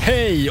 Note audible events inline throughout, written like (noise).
Hej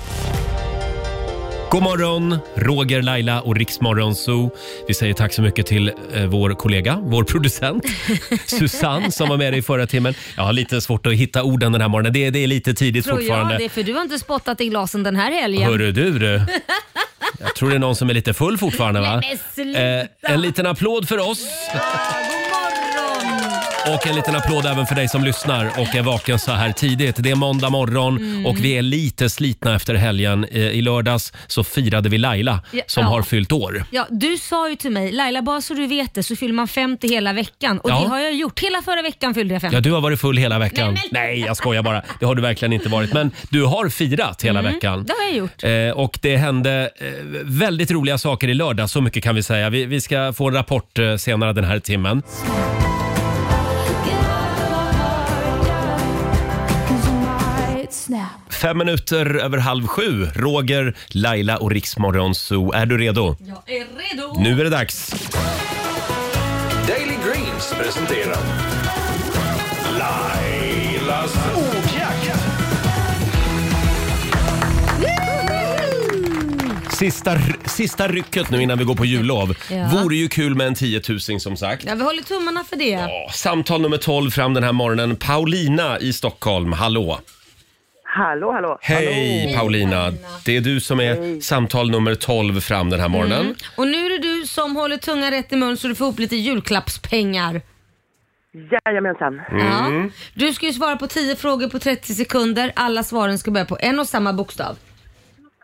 God morgon, Roger, Laila och Riksmorgon Zoo. Vi säger tack så mycket till eh, vår kollega, vår (laughs) producent Susanne som var med i förra timmen. Jag har lite svårt att hitta orden den här morgonen. Det, det är lite tidigt Tror fortfarande. jag det, för du har inte spottat i glasen den här helgen. Hörru du, (laughs) du. Jag tror det är någon som är lite full fortfarande va? Nej, men sluta. Eh, en liten applåd för oss. Och en liten applåd även för dig som lyssnar och är vaken så här tidigt. Det är måndag morgon Mm. och vi är lite slitna efter helgen. Eh, I lördags så firade vi Laila Ja, som ja. har fyllt år. Ja, du sa ju till mig, Laila bara så du vet det så fyller man 50 hela veckan och Ja. det har jag gjort. Hela förra veckan fyllde jag 50. Ja, du har varit full hela veckan. Nej, men- Nej, jag skojar bara. Det har du verkligen inte varit. Men du har firat hela veckan. Mm, Det har jag gjort. Eh, och det hände eh, väldigt roliga saker i lördag, så mycket kan vi säga. Vi, vi ska få en rapport eh, senare den här timmen. Fem minuter över halv sju. Roger, Laila och Riksmorgon Zoo. Är du redo? Jag är redo. Nu är det dags. Daily Greens presenterar Lailas ordjakt. Sista, r- sista rycket nu innan vi går på jullov. Ja. Vore ju kul med en 10 000 som sagt. Ja, vi håller tummarna för det. Ja, Samtal nummer 12 fram den här morgonen. Paulina i Stockholm, hallå! Hallå, hallå. Hej Paulina! Det är du som är samtal nummer 12 fram den här morgonen. Och nu är det du som håller tungan rätt i mun så du får upp lite julklappspengar. Jajamensan. Ja. Mm. Du ska ju svara på 10 frågor på 30 sekunder. Alla svaren ska börja på en och samma bokstav.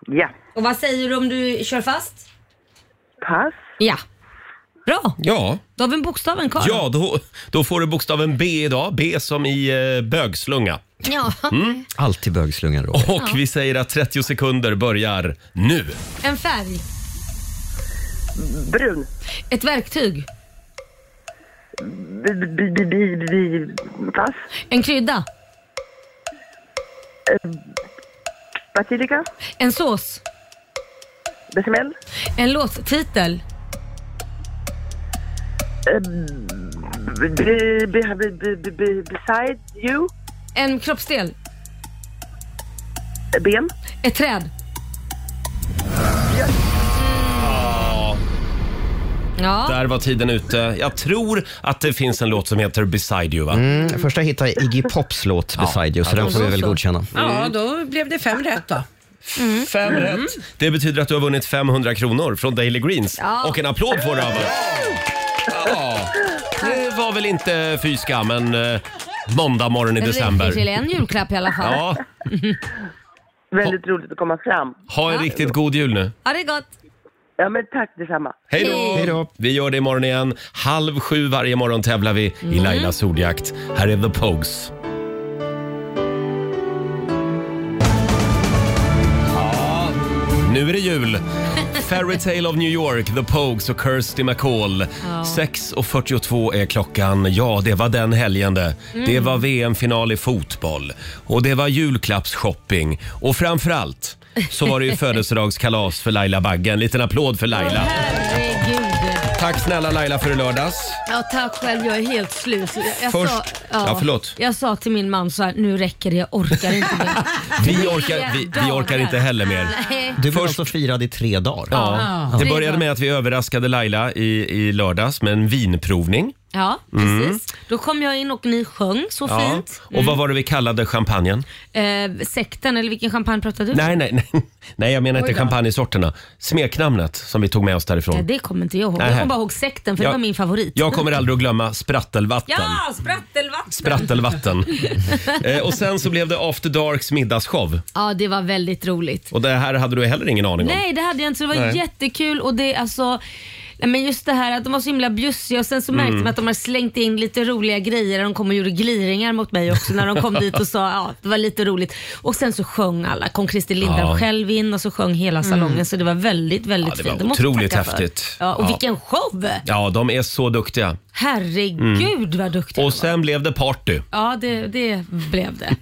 Ja. Och vad säger du om du kör fast? Pass. Ja. Bra, Ja, då har vi bokstaven kvar. ja då, då får du bokstaven B idag. B som i eh, bögslunga. ja. Mm. Alltid bögslungan Roger. Och vi säger att 30 sekunder börjar nu. En färg, Brun. ett verktyg, B- b- b- b- b- Pass. en krydda, Basilika. en sås, Bechamel. en låttitel, B- b- b- b- b- b- Beside you. en kroppsdel, Ben. ett träd. Ja, Där var tiden ute. Jag tror att det finns en låt som heter Beside You va? Mm, första hittade jag Iggy Pops låt Beside You, så den får vi väl godkänna. Ja, då blev det fem rätt då. Fem rätt. Det betyder att du har vunnit 500 kronor från Daily Greens. Ja. Och en applåd får du av oss. Ja. Det var väl inte fy skam, men eh, måndag morgon i det räcker till december. en julklapp i alla fall. Ja, Ja, Väldigt roligt att komma fram. ha en riktigt god jul nu. det är gott. Ja, men tack detsamma. Hej då! Hej då. Vi gör det imorgon igen. Halv sju varje morgon tävlar vi i Lailas ordjakt. Här är The Pogues. Ja, Nu är det jul! Fairytale of New York, The Pogues och Kirsty MacColl. 6.42 är klockan. Ja, det var den helgen det. Det var VM-final i fotboll och det var julklappsshopping och framförallt så var det ju födelsedagskalas för Laila Bagge. En liten applåd för Laila. Herregud. Tack snälla Laila för i lördags. Ja, tack själv. Jag är helt slut. Jag, jag Först- ja, förlåt. Jag sa till min man så här, nu räcker det, jag orkar (laughs) inte mer. Vi orkar, vi, vi orkar inte heller mer. Nej. Du blev alltså firad i tre dagar. Ja. Det började med att vi överraskade Laila i, i lördags med en vinprovning. Ja, precis. Då kom jag in och ni sjöng så Mm. Ja. fint. Och vad var det vi kallade champagnen? Eh, sekten, eller vilken champagne pratar du om? Nej, nej, nej. nej jag menar inte champagnesorterna. Smeknamnet som vi tog med oss Ja, därifrån. det kommer inte jag ihåg. Nähä. Jag kommer bara ihåg sekten för Ja. det var min favorit. Jag kommer aldrig att glömma sprattelvatten. Ja, sprattelvatten! (laughs) Sprattelvatten. Eh, och sen så blev det After Darks middagsshow. ja, det var väldigt roligt. Och det här hade du heller ingen aning om. Nej, det hade jag inte. Så det var Nej. jättekul och det alltså Nej, men just det här att de var så himla bjussiga och sen så Mm. märkte man att de hade slängt in lite roliga grejer. De kom och gjorde gliringar mot mig också när (laughs) de kom dit och sa ja, det var lite roligt. Och sen så sjöng alla. Kom Christer Lindarw Ja. Mm. själv in och så sjöng hela salongen så det var väldigt, väldigt Ja, det var fint. måste jag otroligt tacka för. häftigt. Ja, och Ja. vilken show! Ja, de är så duktiga. Herregud vad duktig Mm. Och han var. sen blev det party. Ja, det, det blev det.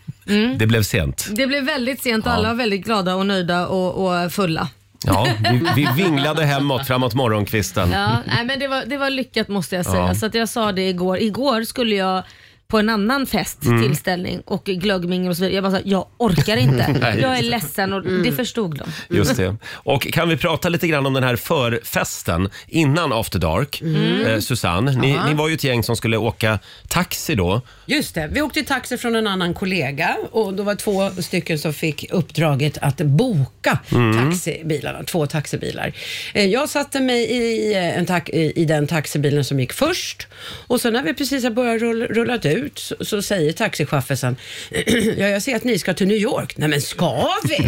Det blev sent. Det blev väldigt sent och alla var väldigt glada och nöjda och, och fulla. Ja, vi, vi vinglade hemåt framåt morgonkvisten. Ja, nej, men det, var, det var lyckat måste jag säga. Ja. Så att jag sa det igår. Igår skulle jag på en annan fest, tillställning och glöggmingel och så vidare. Jag bara sa, jag orkar inte. Nej. jag är ledsen och det förstod de. Just det. Och kan vi prata lite grann om den här förfesten innan After Dark? Mm. Eh, Susanne, ni, ni var ju ett gäng som skulle åka taxi då. Just det, vi åkte taxi från en annan kollega och då var två stycken som fick uppdraget att boka taxibilarna, två taxibilar. Eh, Jag satte mig i, eh, en tax- i i den taxibilen som gick först och sen när vi precis har börjat rull- rullat ut så, så säger taxichauffören (clears throat) ja, jag ser att ni ska till New York. Nej men ska vi?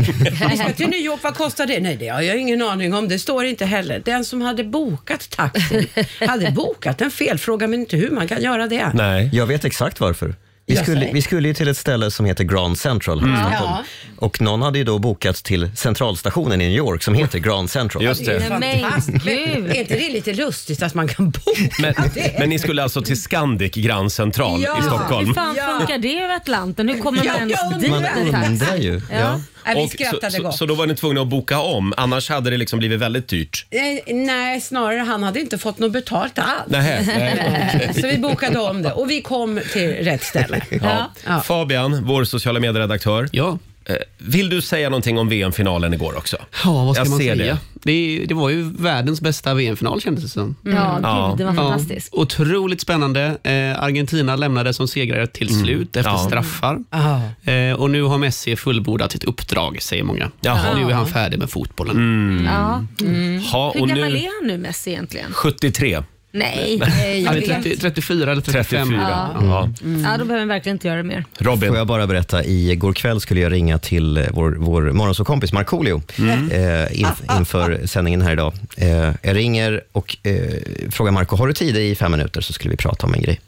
Vi ska till New York, vad kostar det? Nej det har jag ingen aning om, det står inte heller. Den som hade bokat taxin hade bokat en felfråga men inte hur man kan göra det. Nej. Jag vet exakt varför. Vi Jag skulle, säger. vi skulle ju till ett ställe som heter Grand Central här i Stockholm. Ja. Och någon hade ju då bokat till centralstationen i New York som heter Grand Central. Just det. Nej, men Fantastiskt. gud. Är inte det lite lustigt att man kan boka (laughs) Men, det? men ni skulle alltså till Scandic Grand Central Ja. i Hur Stockholm. fan Ja. funkar det över Atlanten? Hur kommer Ja, man jag ens dit? Man med taxi? undrar ju. Ja. Nej, vi Och så, skrattade så, gott. så då var ni tvungna att boka om, annars hade det liksom blivit väldigt dyrt. Eh, Nej, snarare han hade inte fått något betalt alls. (laughs) Nej, nej. Eh, Så vi bokade om det och vi kom till rätt ställe. Ja. Ja. Fabian, vår sociala medieredaktör. Ja, Eh, Vill du säga någonting om VM-finalen igår också? ja vad ska Jag man ser säga? det. Det. Det, var ju världens bästa VM-final kändes det som. Ja, gud det var Ja, fantastiskt. otroligt spännande. Eh, Argentina lämnade som segrare till slut efter Mm. Ja. straffar. Ja. Eh, och nu har Messi fullbordat sitt uppdrag, säger många. Jaha. Mm. Nu är han färdig med fotbollen. Ja. Mm. Ha, Hur och gammal nu är han nu Messi egentligen? 73. Nej. Han är 30, 34 eller 35. 34. Ja. (laughs) Ja, då behöver man verkligen inte göra det mer. Robin. Får jag bara berätta, igår kväll skulle jag ringa till eh, vår, vår morgonsåkompis Markoolio eh, in, inför sändningen här idag. Eh, jag ringer och eh, frågar Marco, har du tid i fem minuter så skulle vi prata om en grej.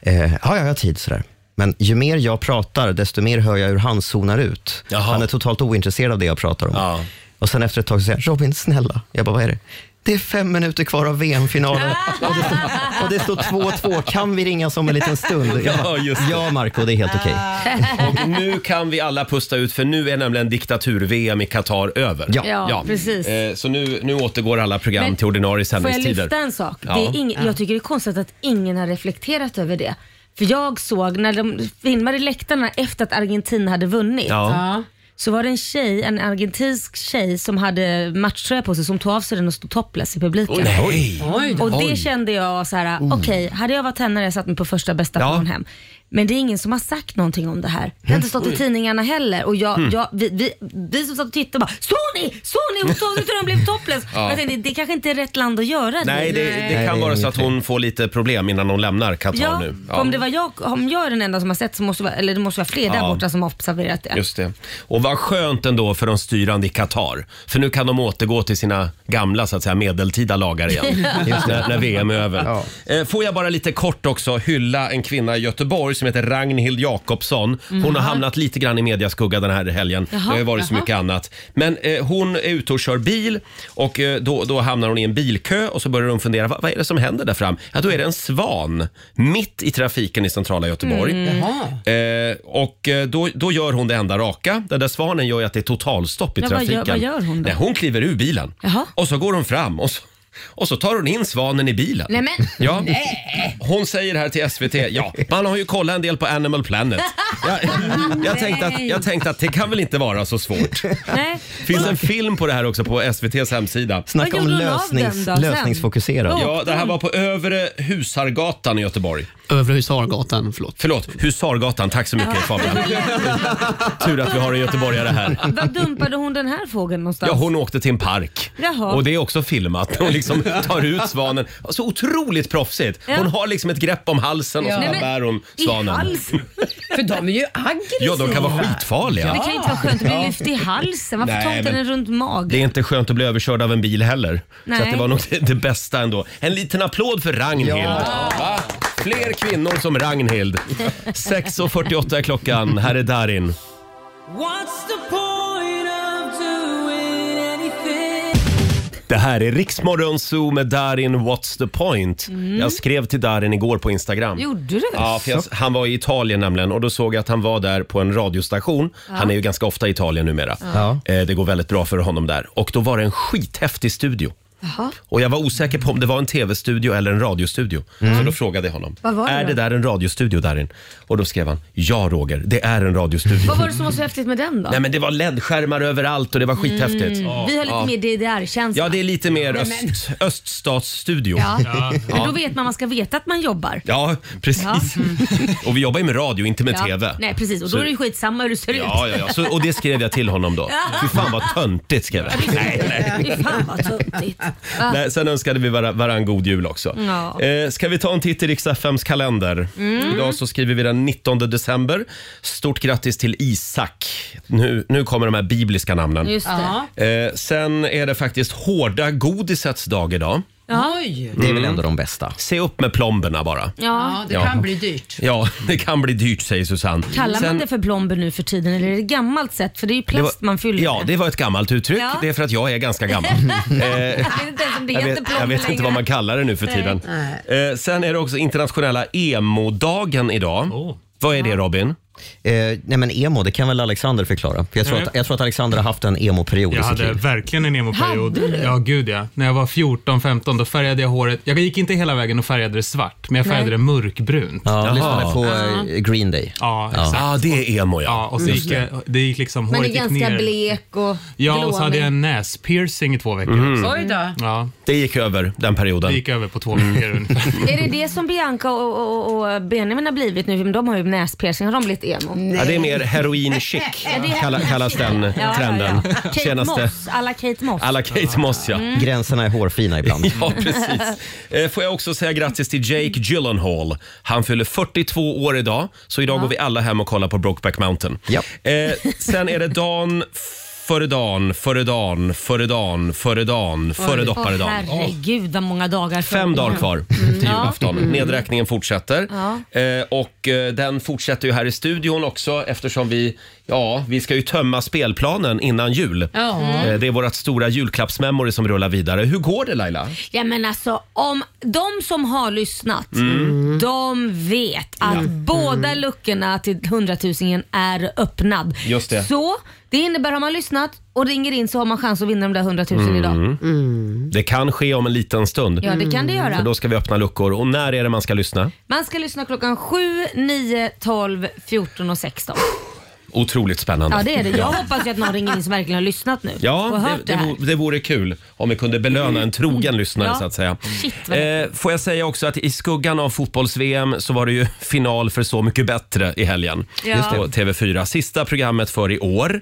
Eh, ja, ja, jag har tid sådär. Men ju mer jag pratar, desto mer hör jag hur han zonar ut. Jaha. Han är totalt ointresserad av det jag pratar om. Ja. Och sen efter ett tag så säger han, Robin snälla. Jag bara, vad är det? Det är fem minuter kvar av VM-finalen och det står- och det står 2-2. Kan vi ringas om en liten stund? Jag Ja, bara, just det. Ja, Marco, det är helt okej. Ah. Och nu kan vi alla pusta ut för nu är nämligen diktatur-VM i Qatar över. Ja. Ja, precis. Eh, Så nu, nu återgår alla program Men till ordinarie Får jag sändningstider. lyfta en sak? Ja. Det är ing- jag tycker det är konstigt att ingen har reflekterat över det. För jag såg när de filmade läktarna efter att Argentina hade vunnit. Ja. Så var det en tjej, en argentinsk tjej som hade matchtröja på sig som tog av sig den och stod topless i publiken. Nej. Oh. Oj, Och det kände jag så här: okej, hade jag varit henne hade jag satt mig på första bästa Ja. plan hem. Men det är ingen som har sagt någonting om det här. Det har inte stått i tidningarna heller. Och jag, Hmm. jag, vi, vi, vi som satt och tittade bara, såg ni? Såg ni? Hon tog sig till den blev topless. Ja. Jag tänkte, det kanske inte är rätt land att göra Nej, det, det Nej, kan det är vara så att ingenting. hon får lite problem innan hon lämnar Qatar Ja, nu. om det var jag, om jag är den enda som har sett så måste det vara, eller det måste vara fler där Ja. borta som har observerat det. Just det. Och vad skönt ändå för de styrande i Qatar. För nu kan de återgå till sina gamla så att säga, medeltida lagar igen. när, när VM är över. Eh, Får jag bara lite kort också hylla en kvinna i Göteborg som heter Ragnhild Jakobsson. Hon har hamnat lite grann i mediaskugga den här helgen. det har ju varit så mycket annat. Men eh, hon är ute och kör bil och eh, då, då hamnar hon i en bilkö och så börjar hon fundera, vad, vad är det som händer där fram? Ja, då är det en svan mitt i trafiken i centrala Göteborg. Jaha. Eh, och eh, då, då gör hon det enda raka. Den där svanen gör ju att det är totalstopp i Men vad gör- trafiken. vad gör hon då? Nej, hon kliver ur bilen Jaha. och så går hon fram och så, och så tar hon in svanen i bilen. Nej, men- Ja. Hon säger här till SVT, ja, man har ju kollat en del på Animal Planet. Jag, jag, tänkte att, jag tänkte att det kan väl inte vara så svårt. Nej. finns en film på det här också på SVTs hemsida. Snacka Vad om gjorde hon av lösnings, den då sen? lösningsfokuserad. Ja, det här var på Övre Husargatan i Göteborg. Övre Husargatan, förlåt. Förlåt, Husargatan. Tack så mycket Fabian. Tur att vi har en göteborgare här. Var dumpade hon den här fågeln någonstans? Ja, hon åkte till en park. Jaha. Och det är också filmat. Hon liksom tar ut svanen. Så otroligt proffsigt. Ja. Hon har liksom ett grepp om halsen och så Nej, bara men- bär hon I svanen. halsen? För de är ju aggressiva. Ja, de kan vara skitfarliga. Det kan ju inte vara skönt att bli lyft i halsen. Varför Nej, tar inte men- den runt Det magen? är inte skönt att bli överkörd av en bil heller. Så Nej. att det var nog det- det bästa ändå. En liten applåd för Ragnhild. Va? Fler kvinnor som Ragnhild. 6.48 är klockan. Här är Darin. Det här är Riksmorgon Zoo med Darin What's the point? Jag skrev till Darin igår på Instagram. Mm. Gjorde du? Ja, för jag, han var i Italien nämligen och då såg jag att han var där på en radiostation. Han är ju ganska ofta i Italien numera. Eh, Det går väldigt bra för honom där. Och då var det en skithäftig studio. Jaha. Och jag var osäker på om det var en tv-studio eller en radiostudio. Så då frågade jag honom. Mm. Vad var det är då?" det där en radiostudio Darin? Och då skrev han, ja Roger, det är en radiostudio. Vad var det som var så häftigt med den då? Nej men det var LED-skärmar överallt och det var Mm. skithäftigt. Vi har lite mer DDR-känsla. Ja, det är lite mer öst, öststatsstudio. Ja. Men då vet man, man ska veta att man jobbar. Ja, precis. Och vi jobbar ju med radio, inte med Mm. Ja. TV. Nej precis, och då Så- är det ju skitsamma hur du ser Ja, ut. ja, ja. Så, och det skrev jag till honom då. Fy fan vad töntigt skrev jag. Nej, nej. Fy fan vad töntigt. Va? Nej, sen önskade vi var, varann god jul också. Ja. Mm. Eh, ska vi ta en titt i riks FMs kalender? Idag så skriver vi den 19 december. Stort grattis till Isak. Nu, nu kommer de här bibliska namnen. Just det. Eh, sen är det faktiskt hårda godisets dag idag. Oj! Det är Mm. väl ändå de bästa. Se upp med plomberna bara. Ja. Ja, det Ja. kan bli dyrt. Ja, det kan bli dyrt säger Susanne. Kallar man Sen- det för plomber nu för tiden eller är det ett gammalt sätt? För det är ju det var- plast man fyller Ja, med. det var ett gammalt uttryck. Ja. Det är för att jag är ganska gammal. (laughs) Jag vet inte ens om det Jag heter vet, plomber jag vet längre. inte vad man kallar det nu för tiden. Eh, sen är det också internationella emo-dagen idag. Vad är det Robin? Eh, nej men emo, det kan väl Alexander förklara? För jag, tror Mm. Nej. att, jag tror att Alexander har haft en emo-period i Jag sitt hade liv. verkligen en emo-period. Hade du? Ja, gud ja. När jag var 14-15 då färgade jag håret. Jag gick inte hela vägen och färgade det svart, men jag färgade Nej. det mörkbrunt. Ja, Ja, Jaha. jag lyssnade på Ah. eh, Green Day. exakt. Ja, Ja. ah, det är emo ja. och Mm. så gick det, det gick liksom Man är håret gick ganska ner. blek och Ja, och så hade jag en näspiercing i två veckor. Mm. Oj då. Ja, Det gick över den det perioden. gick över på två veckor ungefär. Är det det som Bianca och, och, och Benjamin har blivit nu? De har ju näspiercing. Har de blivit emo? Ja, det är mer heroin (laughs) chic det- kalla, kallas den Ja, trenden. ja, ja. Kate Senaste. Moss, Mm. alla Kate Moss. Alla Kate Moss ja. Gränserna är hårfina ibland. (laughs) Ja, precis. Eh, Får jag också säga grattis till Jake Gyllenhaal. Han fyller 42 år idag, så idag går vi alla hem och kollar på Brokeback Mountain. Ja. Eh, sen är det dan före dan, före dan, före dan, före dan, före Åh, dopparedan. herregud vad många dagar kvar. Fem dagar kvar till julafton. Nedräkningen fortsätter. Mm. Ja. Eh, och eh, den fortsätter ju här i studion också eftersom vi, ja, vi ska ju tömma spelplanen innan jul. Ja. Eh, det är vårt stora julklappsmemory som rullar vidare. Hur går det Laila? Ja, men alltså, om de som har lyssnat, Mm. Mm. de vet att Mm. båda luckorna till hundratusingen är öppnad. Just det. Så det innebär har man lyssnat och ringer in så har man chans att vinna de där hundratusen Mm. idag. Det kan ske om en liten stund. Ja, det kan det göra. För då ska vi öppna luckor. Och när är det man ska lyssna? Man ska lyssna klockan 7, 9, 12, 14 och 16. Otroligt spännande. Ja, det är det. Jag hoppas ju att någon ringer in som verkligen har lyssnat nu och Ja, hört det, det, det, här. Mm. vore, det vore kul om vi kunde belöna en trogen lyssnare Ja. så att säga. Shit, vad Eh, får jag säga också att i skuggan av fotbolls-VM så var det ju final för Så mycket bättre i helgen Ja. Just det. på TV4. Sista programmet för i år.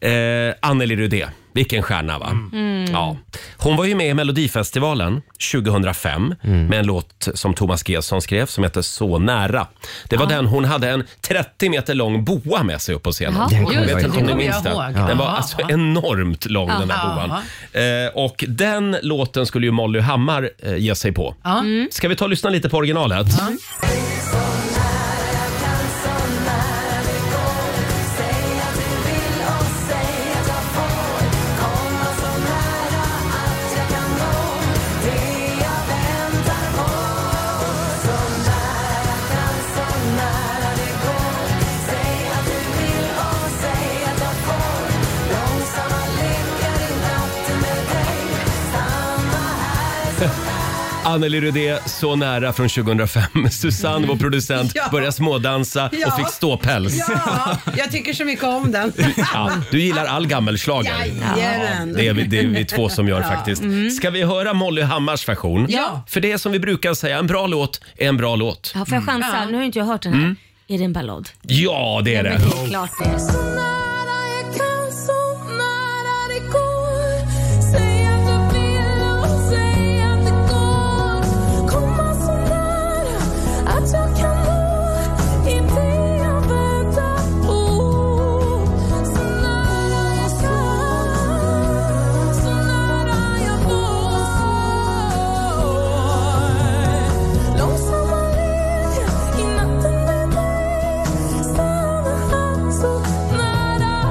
Eh, Anneli Rudé, vilken stjärna va? Mm. Ja. Hon var ju med i Melodifestivalen 2005 Mm. med en låt som Thomas Gesson skrev som heter Så nära. Det var den hon hade en 30 meter lång boa med sig upp på scenen. Jaha. Den Just kommer det, Jag vet jag inte om ni ihåg. kommer minns jag den. ihåg. Den var Ja. alltså enormt lång den här Ja. bovan. Eh, och den låten skulle ju Molly Hammar eh, ge sig på. Mm. Ska vi ta och lyssna lite på originalet? Anneli Rudé, Så nära från 2005. (laughs) Susanne, vår producent, Ja. började smådansa Ja. och fick ståpäls. Ja, jag tycker så mycket om den. Ja, du gillar all gammelschlager. Jajamän. Det är, vi, det är vi två som gör faktiskt. Ska vi höra Molly Hammars version? Mm. Ja. För det är som vi brukar säga, en bra låt är en bra låt. Ja, får jag chansa? Nu har ju inte jag hört den här. Är det en ballad? Ja, det Mm. är det. Men det är klart det är. Långsamma led i natten med dig Samma hand, så nära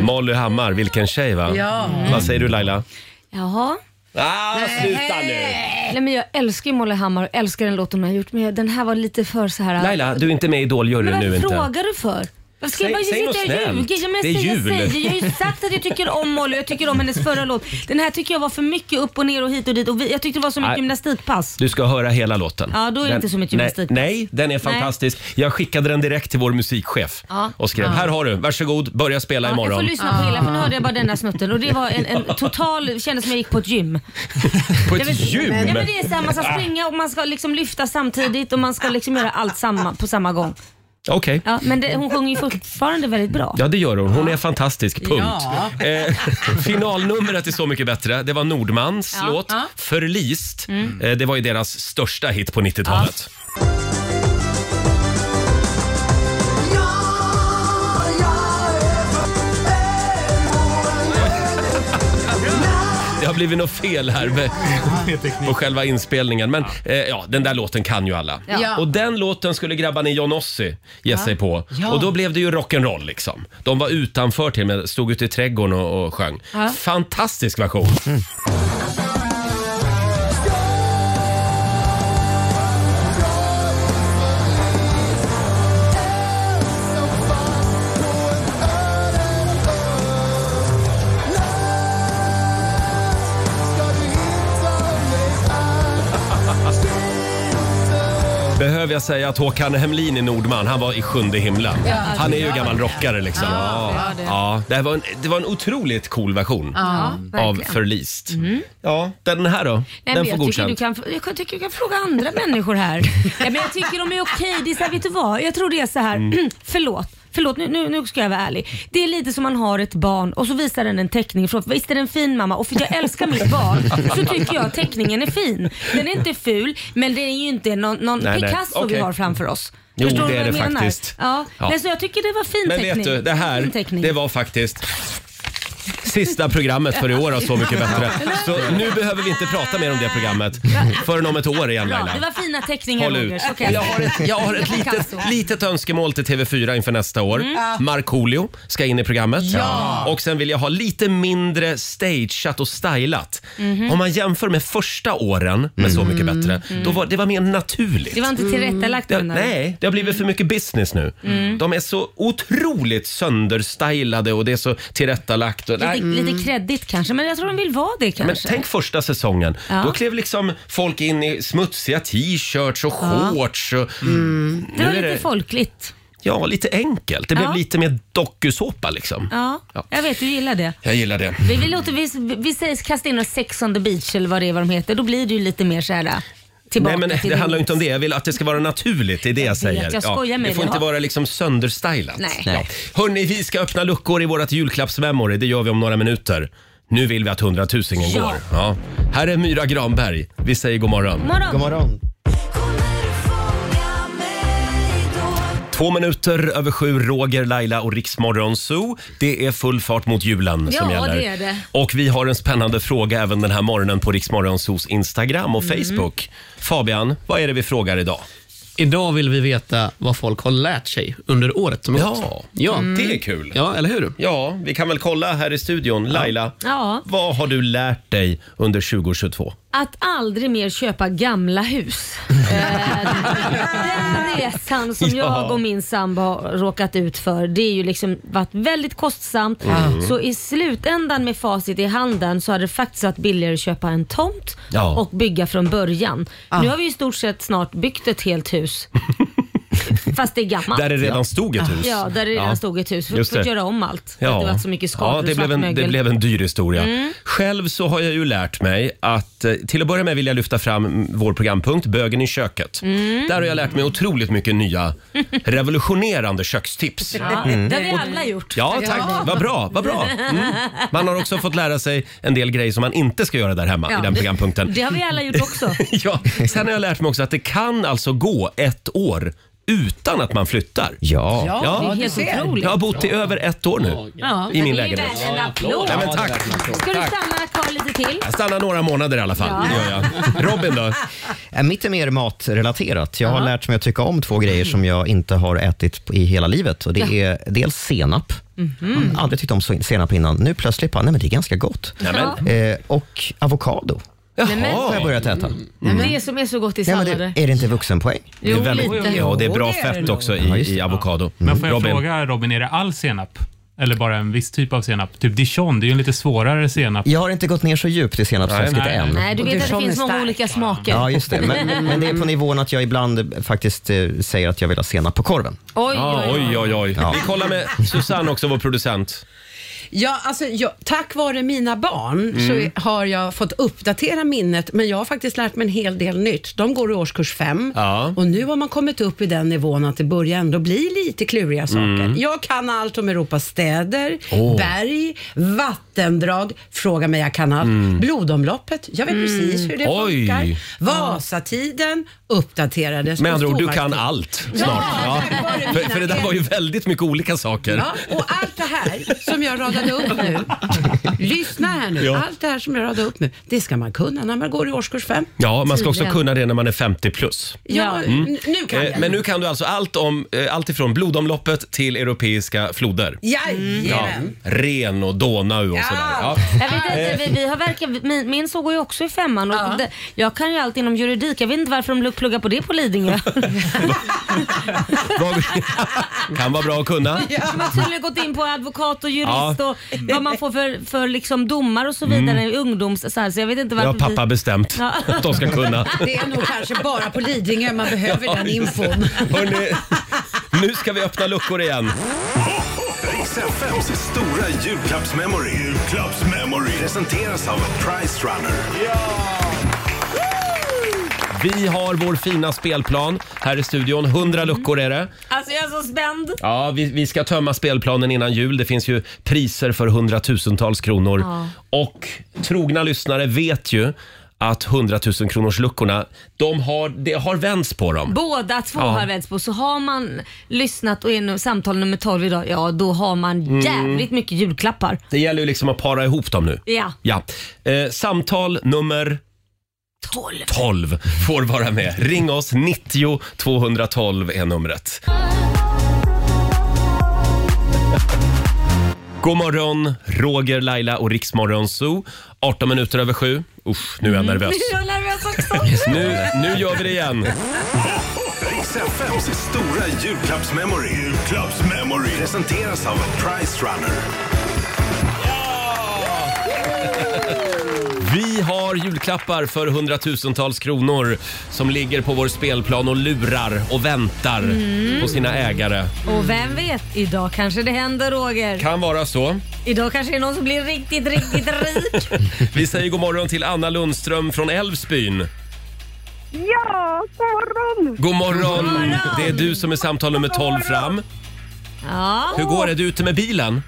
Molly Hammar, vilken tjej va? Ja. Vad säger du Laila? Jaha. Ah, sluta nu! Nej, men jag älskar ju Molly Hammar och älskar den låten hon har gjort men jag- den här var lite för så här... Laila, du är inte med i Idol-juryn men nu vad inte. frågar du för? Varför ska Säg- jag bara säg något sitta och snällt. ljuga? Ja, men Det är jag säger- jul. säger. Jag har ju sagt att jag tycker om Molly och jag tycker om hennes förra låt. Den här tycker jag var för mycket upp och ner och hit och dit och vi, jag tyckte det var så mycket Nej. gymnastikpass. Du ska höra hela låten. Ja, då är det inte så mycket nej, gymnastik. Nej, den är Nej. fantastisk. Jag skickade den direkt till vår musikchef Ja. och skrev här har du, varsågod, börja spela Ja, jag får imorgon. lyssna på hela för nu hörde jag bara denna snutten och det var en, en total, det kändes som jag gick på ett gym. På Jag ett vet- gym! Ja, men det är så här, man ska springa och man ska liksom lyfta samtidigt och man ska liksom göra allt samma, på samma gång. Okej. Ja, men det, hon sjunger ju fortfarande väldigt bra. Ja, det gör hon. Hon är fantastisk. Punkt. Ja. Eh, (laughs) finalnumret är Så mycket bättre. Det var Nordmans Ja, låt ja. Mm. Förlist. Eh, det var ju deras största hit på 90-talet. Det har blivit något fel här med, på själva inspelningen. Men eh, ja, den där låten kan ju alla. Ja. Och den låten skulle grabbarna i Johnossi ge sig på. Och då blev det ju rock'n'roll liksom. De var utanför till och med, stod ute i trädgården och, och sjöng. Fantastisk version. Behöver jag säga att Håkan Hemlin i Nordman, han var i sjunde himlen. han är ju gammal rockare liksom. Ja, ja, det. här var en, det var en otroligt cool version av verkligen. Förlist. Ja, den här då? Nej, den men får jag, tycker godkänt. du kan, jag tycker du kan fråga andra (laughs) människor här. Nej, men jag tycker de är okej. Det är så här, vet du vad? Jag tror det är så här. Mm. (clears throat) förlåt. Förlåt, nu, nu, nu ska jag vara ärlig. Det är lite som man har ett barn och så visar den en teckning. Förlåt, visst är den fin mamma? Och för att jag älskar (laughs) mitt barn så tycker jag att teckningen är fin. Den är inte ful, men det är ju inte någon, någon Nej, nej. Picasso vi Okej. har framför oss. Jo, Förstår det du vad är jag det menar? faktiskt. Ja. Ja. Nej, så jag tycker det var fin Men vet teckning. du, det Fin här teckning. det var faktiskt sista programmet för i år av Så mycket bättre. Så nu behöver vi inte prata mer om det programmet förrän om ett år igen Bra, det Laila. var fina teckningar Håll Roger. ut. Så kan Jag har säga. ett, jag har ett litet, Picasso. litet önskemål till TV4 inför nästa år. Mm. Markoolio ska in i programmet. Och sen vill jag ha lite mindre stageat och stylat. Mhm. Om man jämför med första åren med Så mycket bättre, då var det var mer naturligt. Mm. Det var inte tillrättalagt Det, menar du? Mm. nej, det har blivit för mycket business nu. Mm. De är så otroligt sönderstylade och det är så tillrättalagt. Och, nej. Mm. Lite, lite kredit kanske, men jag tror de vill vara det Men kanske. tänk första säsongen. Ja. Då klev liksom folk in i smutsiga t-shirts och shorts. Och, Mm. det var nu är lite det- folkligt. Ja, lite enkelt. Det blev Ja. lite mer dokusåpa liksom. Ja, Ja. jag vet du gillar det. Jag gillar det. Vi, vi, låter, vi, vi sägs kasta in oss sex on the beach eller vad det är vad de heter. Då blir det ju lite mer såhär tillbaka Nej, men till det handlar ju inte om roots. det. Jag vill att det ska vara naturligt. Det är det jag, vet, säger. jag skojar med det får dig. inte Ja. vara liksom sönderstylat. Nej. Ja. Hörni, vi ska öppna luckor i vårt julklappsmemory. Det gör vi om några minuter. Nu vill vi att hundratusingen Ja. går. Ja. Här är Myra Granberg. Vi säger god morgon. God Morgon. morgon. Två minuter över sju, Roger, Laila och Riksmorgon Zoo. Det är full fart mot julen som Ja, gäller. det är det. Och vi har en spännande fråga även den här morgonen på Riksmorgon Zoos Instagram och Mm. Facebook. Fabian, vad är det vi frågar idag? (laughs) Idag vill vi veta vad folk har lärt sig under året som Ja. gått. Ja. Det är kul. Ja, eller hur? Ja, vi kan väl kolla här i studion. Laila, Ja. vad har du lärt dig under 2022? Att aldrig mer köpa (laughs) gamla hus. Eh, Den resan som Ja. jag och min sambo har råkat ut för, det är ju liksom varit väldigt kostsamt. Mm. Så i slutändan med facit i handen så hade det faktiskt varit billigare att köpa en tomt Ja. Ah. och bygga från början. Nu har vi i stort sett snart byggt ett (laughs) helt hus. Fast det är gammalt. Där det redan stod ett hus. Ja, där det redan stod ett hus. För, Just för att det. göra om allt. För Ja. att det var så mycket skador ja, och det, blev en, det svartmögel. Mm. blev en dyr historia. Själv så har jag ju lärt mig att eh, till att börja med vill jag lyfta fram mm, vår programpunkt Bögen i köket. Mm. Där har jag lärt mig otroligt mycket (laughs) nya revolutionerande kökstips. Ja, Det har vi alla gjort. Mm. Ja, tack. Vad bra. Vad bra. Mm. Man har också fått lära sig en del grejer som man inte ska göra där hemma i den programpunkten. (laughs) Det har vi alla gjort också. Ja, sen har jag lärt mig också att det kan alltså gå ett år utan att man flyttar. Ja. Ja, Ja. det är Helt helt otroligt. Jag har bott i över ett år nu Ja, i min men lägenhet. Det är väl en applåd. Ja, men tack. Ska du stanna kvar lite till? Jag stannar några månader i alla fall. Det gör jag. Robin då? Äh, Mitt är mer matrelaterat. Jag har lärt mig att tycka om två grejer som jag inte har ätit på- i hela livet. Och det är dels senap. Mhm. Jag har aldrig tyckt om so- senap innan. Nu plötsligt bara, nej men det är ganska gott. Nämen. Eh, och avokado har jag Jaha. börjat äta. Mm. Det som är så gott i Nej, men sallader. det, är det inte vuxenpoäng? Det är Jo, väldigt, lite. ja, det är bra Jo, det är fett det. också Ja, i, just det. i avokado. Men får jag Robin? fråga Robin, är det all senap? Eller bara en viss typ av senap? Typ dijon, det är ju en lite svårare senap. Jag har inte gått ner så djupt i senapsträsket Nej, nej. än. Nej, du Och vet att det dijon finns är många stark. olika smaker. Ja, just det. Men, men, men det är på nivån att jag ibland eh, faktiskt eh, säger att jag vill ha senap på korven. Oj, Ja, oj, oj, oj. Ja. Vi kollar med Susanne också, vår producent. Ja, alltså, jag, tack vare mina barn Mm. så har jag fått uppdatera minnet, men jag har faktiskt lärt mig en hel del nytt. De går i årskurs fem Ja. och nu har man kommit upp i den nivån att det börjar ändå bli lite kluriga saker. Mm. Jag kan allt om Europas städer, berg, vattendrag. Fråga mig, jag kan allt. Blodomloppet, jag vet precis hur det Mm. Oj. funkar. Vasatiden uppdaterades. Med andra Och ord, du kan stormaktstiden. allt snart. Ja. Ja, tack vare mina För, för det där var ju väldigt mycket olika saker. Ja, och allt det här som jag radade upp nu. Lyssna här nu. Allt det här som jag radade upp nu, det ska man kunna när man går i årskurs fem. Ja, man ska också Tydligen. kunna det när man är 50 plus. Ja, Ja. n- nu kan Eh, jag. Men nu kan du alltså allt, om, eh, allt ifrån blodomloppet till europeiska floder. Jajamän. Ren och Donau och sådär. Ja. (laughs) Ja. Jag vet inte, vi, vi har verkligen, min, min såg ju också i femman och det, jag kan ju allt inom juridik. Jag vet inte varför de pluggar på det (laughs) på Lidingö. Vad- (laughs) kan vara bra att kunna. De har tydligen gått in på advokat och jurist Ja. och vad man får för, för liksom domar och så vidare i ungdoms... Så, här, så jag vet inte Det varför har pappa vi... bestämt Ja. att de ska kunna. Det är nog kanske bara på Lidingö man behöver den infon. Hörrni, nu ska vi öppna luckor igen. Riks FMs stora julklappsmemory. Julklappsmemory. Presenteras av Price Runner. Vi har vår fina spelplan här i studion. 100 luckor är det. Alltså jag är så spänd. Ja, vi, vi ska tömma spelplanen innan jul. Det finns ju priser för hundratusentals kronor. Och trogna lyssnare vet ju att hundratusen kronors luckorna, de har, det har vänts på dem. Båda två Ja. har vänts på, så har man lyssnat och är nu samtal nummer 12 idag, ja då har Mm. man jävligt mycket julklappar. Det gäller ju liksom att para ihop dem nu. Ja. Ja. Eh, samtal nummer 12. 12 får vara med. Ring oss, 90 212 är numret. God morgon, Roger, Laila och Riksmorgon Zoo. 18 minuter över sju. Usch, nu är jag nervös. Nu är jag nervös också. Nu, nu gör vi det igen. Riks FMs stora julklappsmemory. Julklappsmemory. Presenteras av Price Runner. Vi har julklappar för hundratusentals kronor som ligger på vår spelplan och lurar och väntar på sina ägare. Och vem vet, idag kanske det händer Roger. Kan vara så. Idag kanske det är någon som blir riktigt, riktigt rik. Vi säger god morgon till Anna Lundström från Älvsbyn. Ja, god morgon! God morgon! Det är du som är samtal nummer 12 fram. Ja. Hur går det? Du är ute med bilen?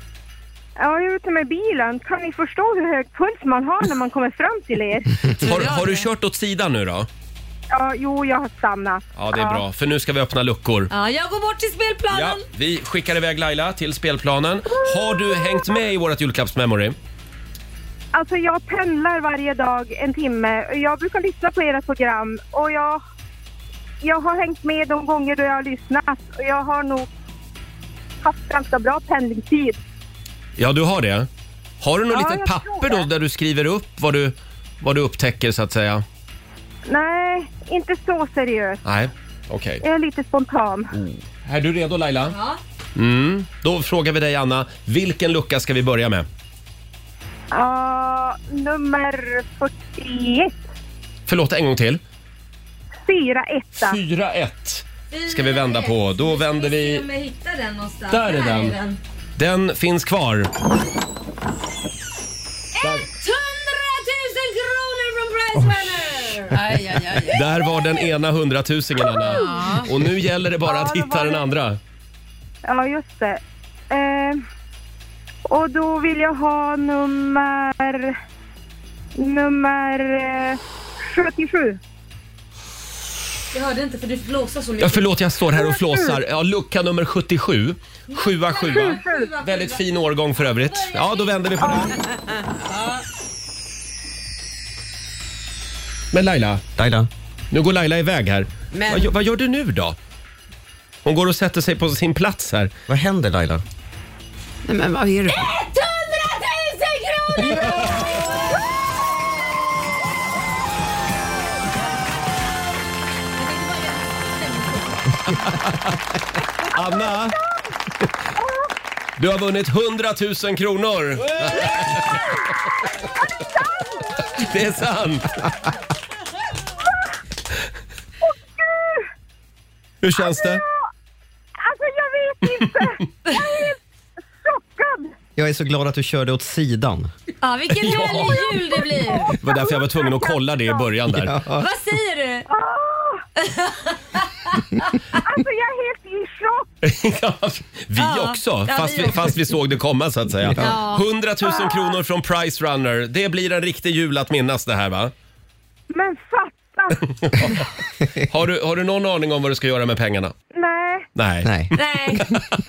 Ja, jag är ute med bilen. Kan ni förstå hur hög puls man har när man kommer fram till er? Har, har du kört åt sidan nu då? Ja, jo, jag har stannat. Ja, det är bra, för nu ska vi öppna luckor. ja, jag går bort till Ja, spelplanen. vi skickar iväg Laila till spelplanen. Har du hängt med i vårt julklappsmemory? Alltså, jag pendlar varje dag en timme. Jag brukar lyssna på era program och jag, jag har hängt med de gånger då jag har lyssnat. Och jag har nog haft ganska bra pendlingstid. Ja, du har det. Har du något Ja, litet jag tror papper då det. där du skriver upp vad du, vad du upptäcker så att säga? Nej, inte så seriöst. Nej, okej. Jag är lite spontan. Är du redo Laila? Ja. Mm. Då frågar vi dig Anna, vilken lucka ska vi börja med? Ja, nummer 41. Förlåt, en gång till. Fyra etta. 4-1 ska vi vända på. Då vänder vi... Jag hittar den någonstans. Där är Där är den. den. Den finns kvar. 100 000 kronor från Price Runner! Aj, aj, aj. Där var den ena hundratusingen Anna. Och nu gäller det bara att Ja, det hitta var den det. andra. Ja, just det. Eh, och då vill jag ha nummer... Nummer eh, 77. Jag hörde inte för du flåsar så mycket. Ja, förlåt, jag står här och flåsar. Ja, lucka nummer 77. 7 7 Väldigt fin årgång för övrigt. Ja, då vänder vi på den. Men Laila, Laila? nu går Laila iväg här. Men- Vad, gör- vad gör du nu då? Hon går och sätter sig på sin plats här. Vad händer Laila? Nej, men vad är det? 100 000 kronor! Anna! Du har vunnit 100 000 kronor! Det är sant! Hur känns det? Alltså jag vet inte. Jag är helt chockad. Jag är så glad att du körde åt sidan. Ja, (laughs) vilken härlig jul det blir. Det var därför jag var tvungen att kolla det i början där. Vad säger du? Alltså jag är helt i chock. Vi Ja. också, Ja, vi fast vi, också. fast vi såg det komma så att säga. 100 000 kronor från Price Runner. Det blir en riktig jul att minnas det här va? Men fatta. Har du, har du någon aning om vad du ska göra med pengarna? Nej. Nej. Nej. Nej,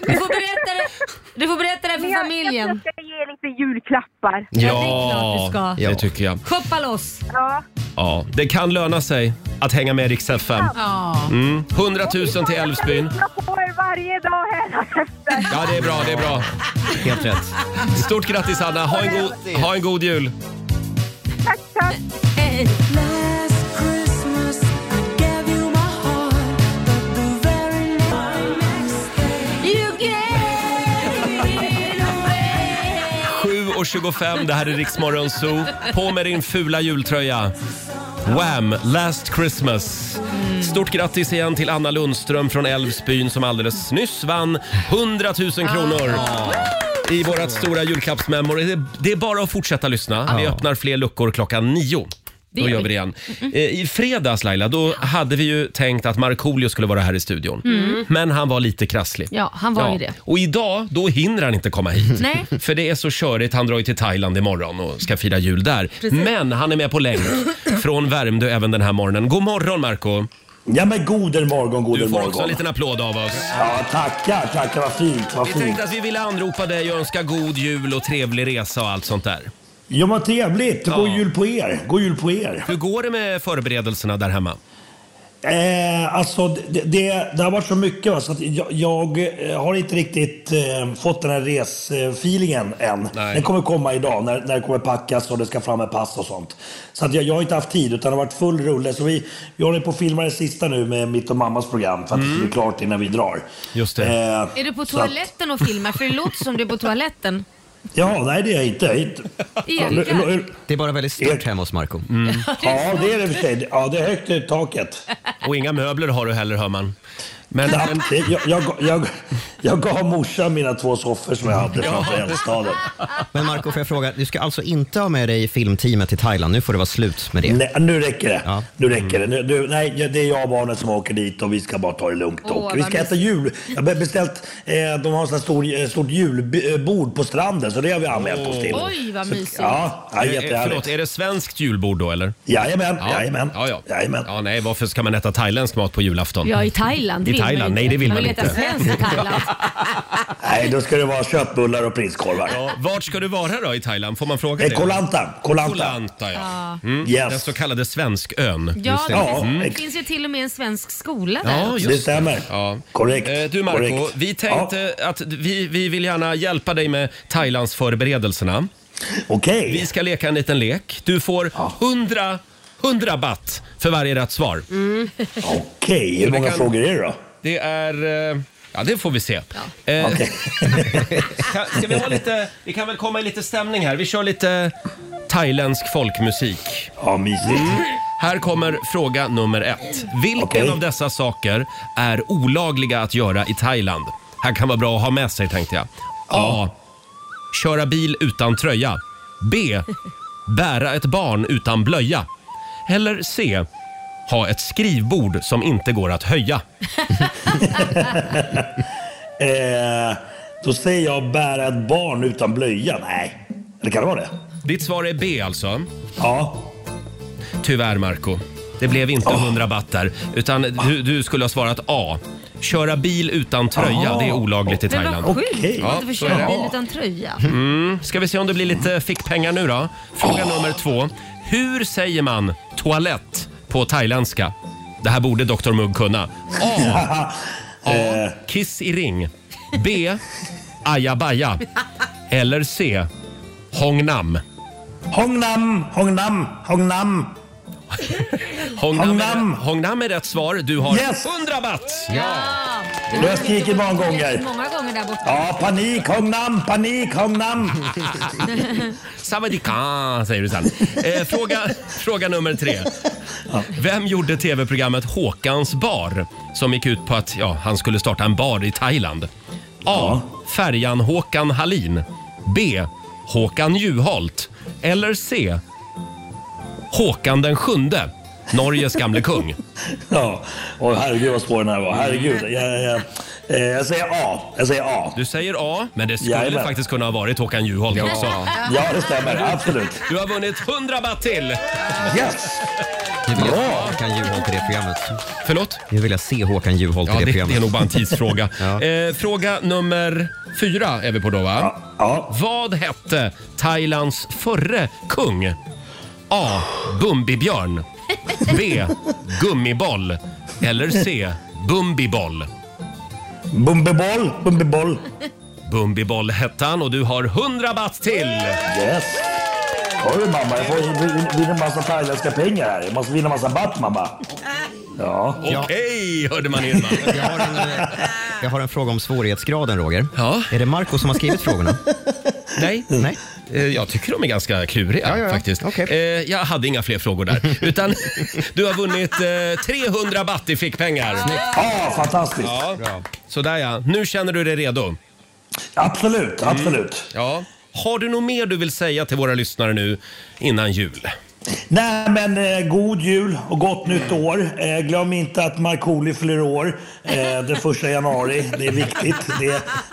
du får berätta det, du får berätta det för Jag, jag familjen. ska ge lite julklappar. Ja, det är klart du ska. Ja, det tycker jag. Shoppa loss. Ja. Ja, det kan löna sig att hänga med i Rix FM. Mm. 100 000 till Älvsbyn. Jag på er varje dag här efter. Ja, det är bra, det är bra. Helt rätt. Stort grattis Anna, ha en god, ha en god jul. Tack, tack. Hej. You gave it away. 7.25, det här är Rix Morgon Zoo. På med din fula jultröja. Wham! Last Christmas. Stort grattis igen till Anna Lundström från Älvsbyn som alldeles nyss vann 100 000 kronor. I vårt stora julklappsmemory. Det- Det är bara att fortsätta lyssna. Vi öppnar fler luckor klockan nio. Då gör gör vi det igen. Eh, I fredags Laila, då hade vi ju tänkt att Markoolio skulle vara här i studion. Men han var lite krasslig. Mm. Ja, han var ju det. Och idag, då hinner han inte komma hit. Nej. Mm. För det är så körigt. Han drar ju till Thailand imorgon och ska fira jul där. Men han är med på länk från Värmdö även den här morgonen. God morgon Marco Ja men goder morgon, Du goder får också en morgon. liten applåd av oss. Ja, tackar, tackar. Vad fint, vad Vi fint. tänkte att vi ville anropa dig och önska god jul och trevlig resa och allt sånt där. Ja men trevligt. God Ja. jul på er. God jul på er. Hur går det med förberedelserna där hemma? Eh, alltså, det, det, det har varit så mycket va, så att jag, jag eh, har inte riktigt eh, fått den här resfeelingen än. Nej. Den kommer komma idag när, när det kommer packas och det ska fram med pass och sånt. Så att jag, jag har inte haft tid utan det har varit full rulle. Så vi, vi håller på att filma det sista nu med mitt och mammas program för att det ska bli klart innan vi drar. Mm. Just det. Eh, Är du på så att- toaletten och filmar? För det låter som du är på toaletten. Ja, nej det är jag inte. Jag är inte. Ekar. Det är bara väldigt stort hemma hos Marco. Ja, det är det i och för sig. Ja, det är högt i taket. Och inga möbler har du heller hör man. Men, eh, Ja, men det- Jag, jag, jag, jag gav morsan mina två soffor som jag hade framför eldstaden. Men Marco, får jag fråga, du ska alltså inte ha med dig filmteamet till Thailand? Nu får det vara slut med det. Nej, nu räcker det. Ja. Nu räcker det. Nu, nu, nej, det är jag och barnen som åker dit och vi ska bara ta det lugnt. Åh, och vi vad ska äta jul. Jag har beställt, eh, de har en sån här stor, eh, stort julbord på stranden så det har vi anmält oss till. Oj, vad Så- mysigt. Ja, ja eh, förlåt, jättehärligt. är det svenskt julbord då eller? Jajamän, jajamän. Ja, ja. jajamän. ja, nej, varför ska man äta thailändsk mat på julafton? Ja, i Thailand. I vill man Thailand? inte. Nej, det vill man Man inte. vill äta svenskt i Thailand. Nej, då ska det vara köttbullar och prinskorvar. Ja, vart ska du vara då i Thailand? Får man fråga Eh, det? Kolanta, kolanta. Mm. Kolanta, ja. Den Yes, så kallade svenskön. Ja, det, Ja, finns- det ex- finns ju till och med en svensk skola där. just det stämmer. Ja. Korrekt. Eh, Du Marco, korrekt. vi tänkte att vi, vi vill gärna hjälpa dig med Thailands förberedelserna. Ja, Okej. Vi ska leka en liten lek. Du får 100, 100 baht för varje rätt svar. Okej, hur många kan- frågor är (laughs) det då? Det är... eh, Ja, det får vi se. Eh, Okej. kan, ska vi ha lite... Vi kan väl komma i lite stämning här. Vi kör lite thailändsk folkmusik. Ja, mysigt. Mm. Här kommer fråga nummer ett. Vilken Okej. av dessa saker är olagliga att göra i Thailand? Här kan vara bra att ha med sig tänkte jag. A. Köra bil utan tröja. B. Bära ett barn utan blöja. Eller C. Ha ett skrivbord som inte går att höja. Eh, då säger jag bära ett barn utan blöja. Nej, eller kan det vara det? Ditt svar är B alltså. Ja. Tyvärr Marco. Det blev inte 100 baht där. Utan du, du skulle ha svarat A. Köra bil utan tröja, det är olagligt i Men Thailand. vad sjukt att Ja, du får så är köra det. bil utan tröja. Mm. Ska vi se om det blir lite fickpengar nu då? Fråga nummer två. Hur säger man toalett på thailändska? Det här borde Dr Mugg kunna. A. A. Kiss i ring. B. Ajabaja. Eller C. Hong Nam. Hong Nam, Hong Nam, Hong Nam. Hong Nam, Hong Är, Nam. Hong Nam är rätt svar. Du har Yes! 100 baht! Ja. Du har skrikit många gånger. Många gånger där borta. Ja, panik Hong Nam, panik Hong Nam. (laughs) Savadika, säger du sen. Eh, fråga, fråga nummer tre. Vem gjorde tv-programmet Håkans bar som gick ut på att ja, han skulle starta en bar i Thailand? A. Färjan Håkan Hallin. B. Håkan Juholt. Eller C. Håkan den sjunde, Norges gamle kung. Ja, och herregud vad svår den här var. Herregud. Jag, jag, eh, jag säger A. Jag säger A. Du säger A, men det skulle Jajamän. faktiskt kunna ha varit Håkan Juholt också. Ja, det stämmer. Absolut. Du har vunnit 100 baht till! Yes! Nu vill jag se Håkan Juholt i det programmet. Förlåt? Nu vill jag se Håkan Juholt i Ja, det, det, det programmet. är nog bara en (laughs) tidsfråga. Ja. eh, fråga nummer fyra är vi på då, va? Ja, Vad hette Thailands förre kung? A. Bumbibjörn. B. Gummiboll. Eller C. Bumbiboll. Bumbiboll, Bumbiboll. Bumbiboll hette han och du har 100 baht till! Yes! Hörru mamma, jag får vin- vinna massa thailändska pengar här. Jag måste vinna massa baht mamma. Ja. Okej, hörde man (laughs) Irma. Jag har, en, eh, jag har en fråga om svårighetsgraden, Roger. Ja. Är det Marco som har skrivit frågorna? Nej. Nej. Eh, Jag tycker de är ganska kluriga Ja, ja, ja. faktiskt. Okej. Eh, Jag hade inga fler frågor (laughs) där. Utan (laughs) du har vunnit eh, 300 baht i fickpengar. Ah, fantastiskt. Ja. Sådär ja. Nu känner du dig redo. Absolut, absolut. Ja. Har du något mer du vill säga till våra lyssnare nu innan jul? Nej men eh, god jul och gott nytt år. Eh, glöm inte att Markoolio fyller år eh, den första januari. Det är viktigt. Det,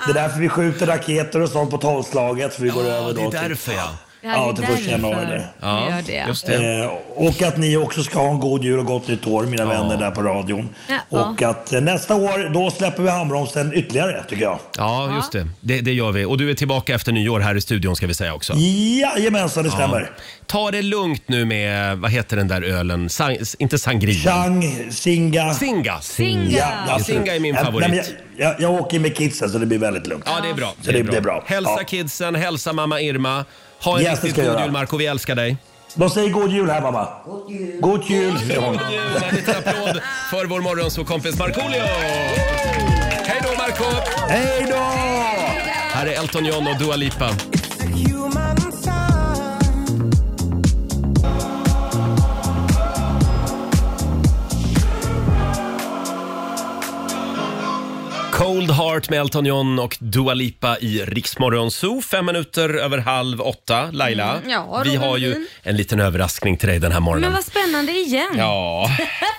det är därför vi skjuter raketer och sånt på tolvslaget. För vi går över då till- ja. Ja, till första januari. där. Ja, gör det. Just det. Eh, och att ni också ska ha en god jul och gott nytt år mina vänner där på radion. Ja. Och att eh, nästa år då släpper vi handbromsen ytterligare tycker jag. Ja, just det. det. Det gör vi. Och du är tillbaka efter nyår här i studion ska vi säga också. Jajamensan, det stämmer. Ta det lugnt nu med, vad heter den där ölen? Sang, inte sangria. Chang, Singa. Singa. Singa. absolut. Singa är min Ja, favorit. nej, men jag, jag, jag åker med kidsen så det blir väldigt lugnt. Ja, det är bra. Så det blir bra. Hälsa Ja. kidsen, hälsa mamma Irma. Ha en Yes, det riktigt ska god jag göra. jul Marco, vi älskar dig. De säger god jul här mamma. God jul. God jul säger hon. God jul! En liten applåd för vår morgonsåkompis Markoolio! Hej då Marco! Hej då! Här är Elton John och Dua Lipa. Cold Heart med Elton John och Dua Lipa i Riksmorgon Zoo. Fem minuter över halv åtta. Laila, Mm, ja, vi Roger har ju Nordin. en liten överraskning till dig den här morgonen. Men vad spännande igen. Ja,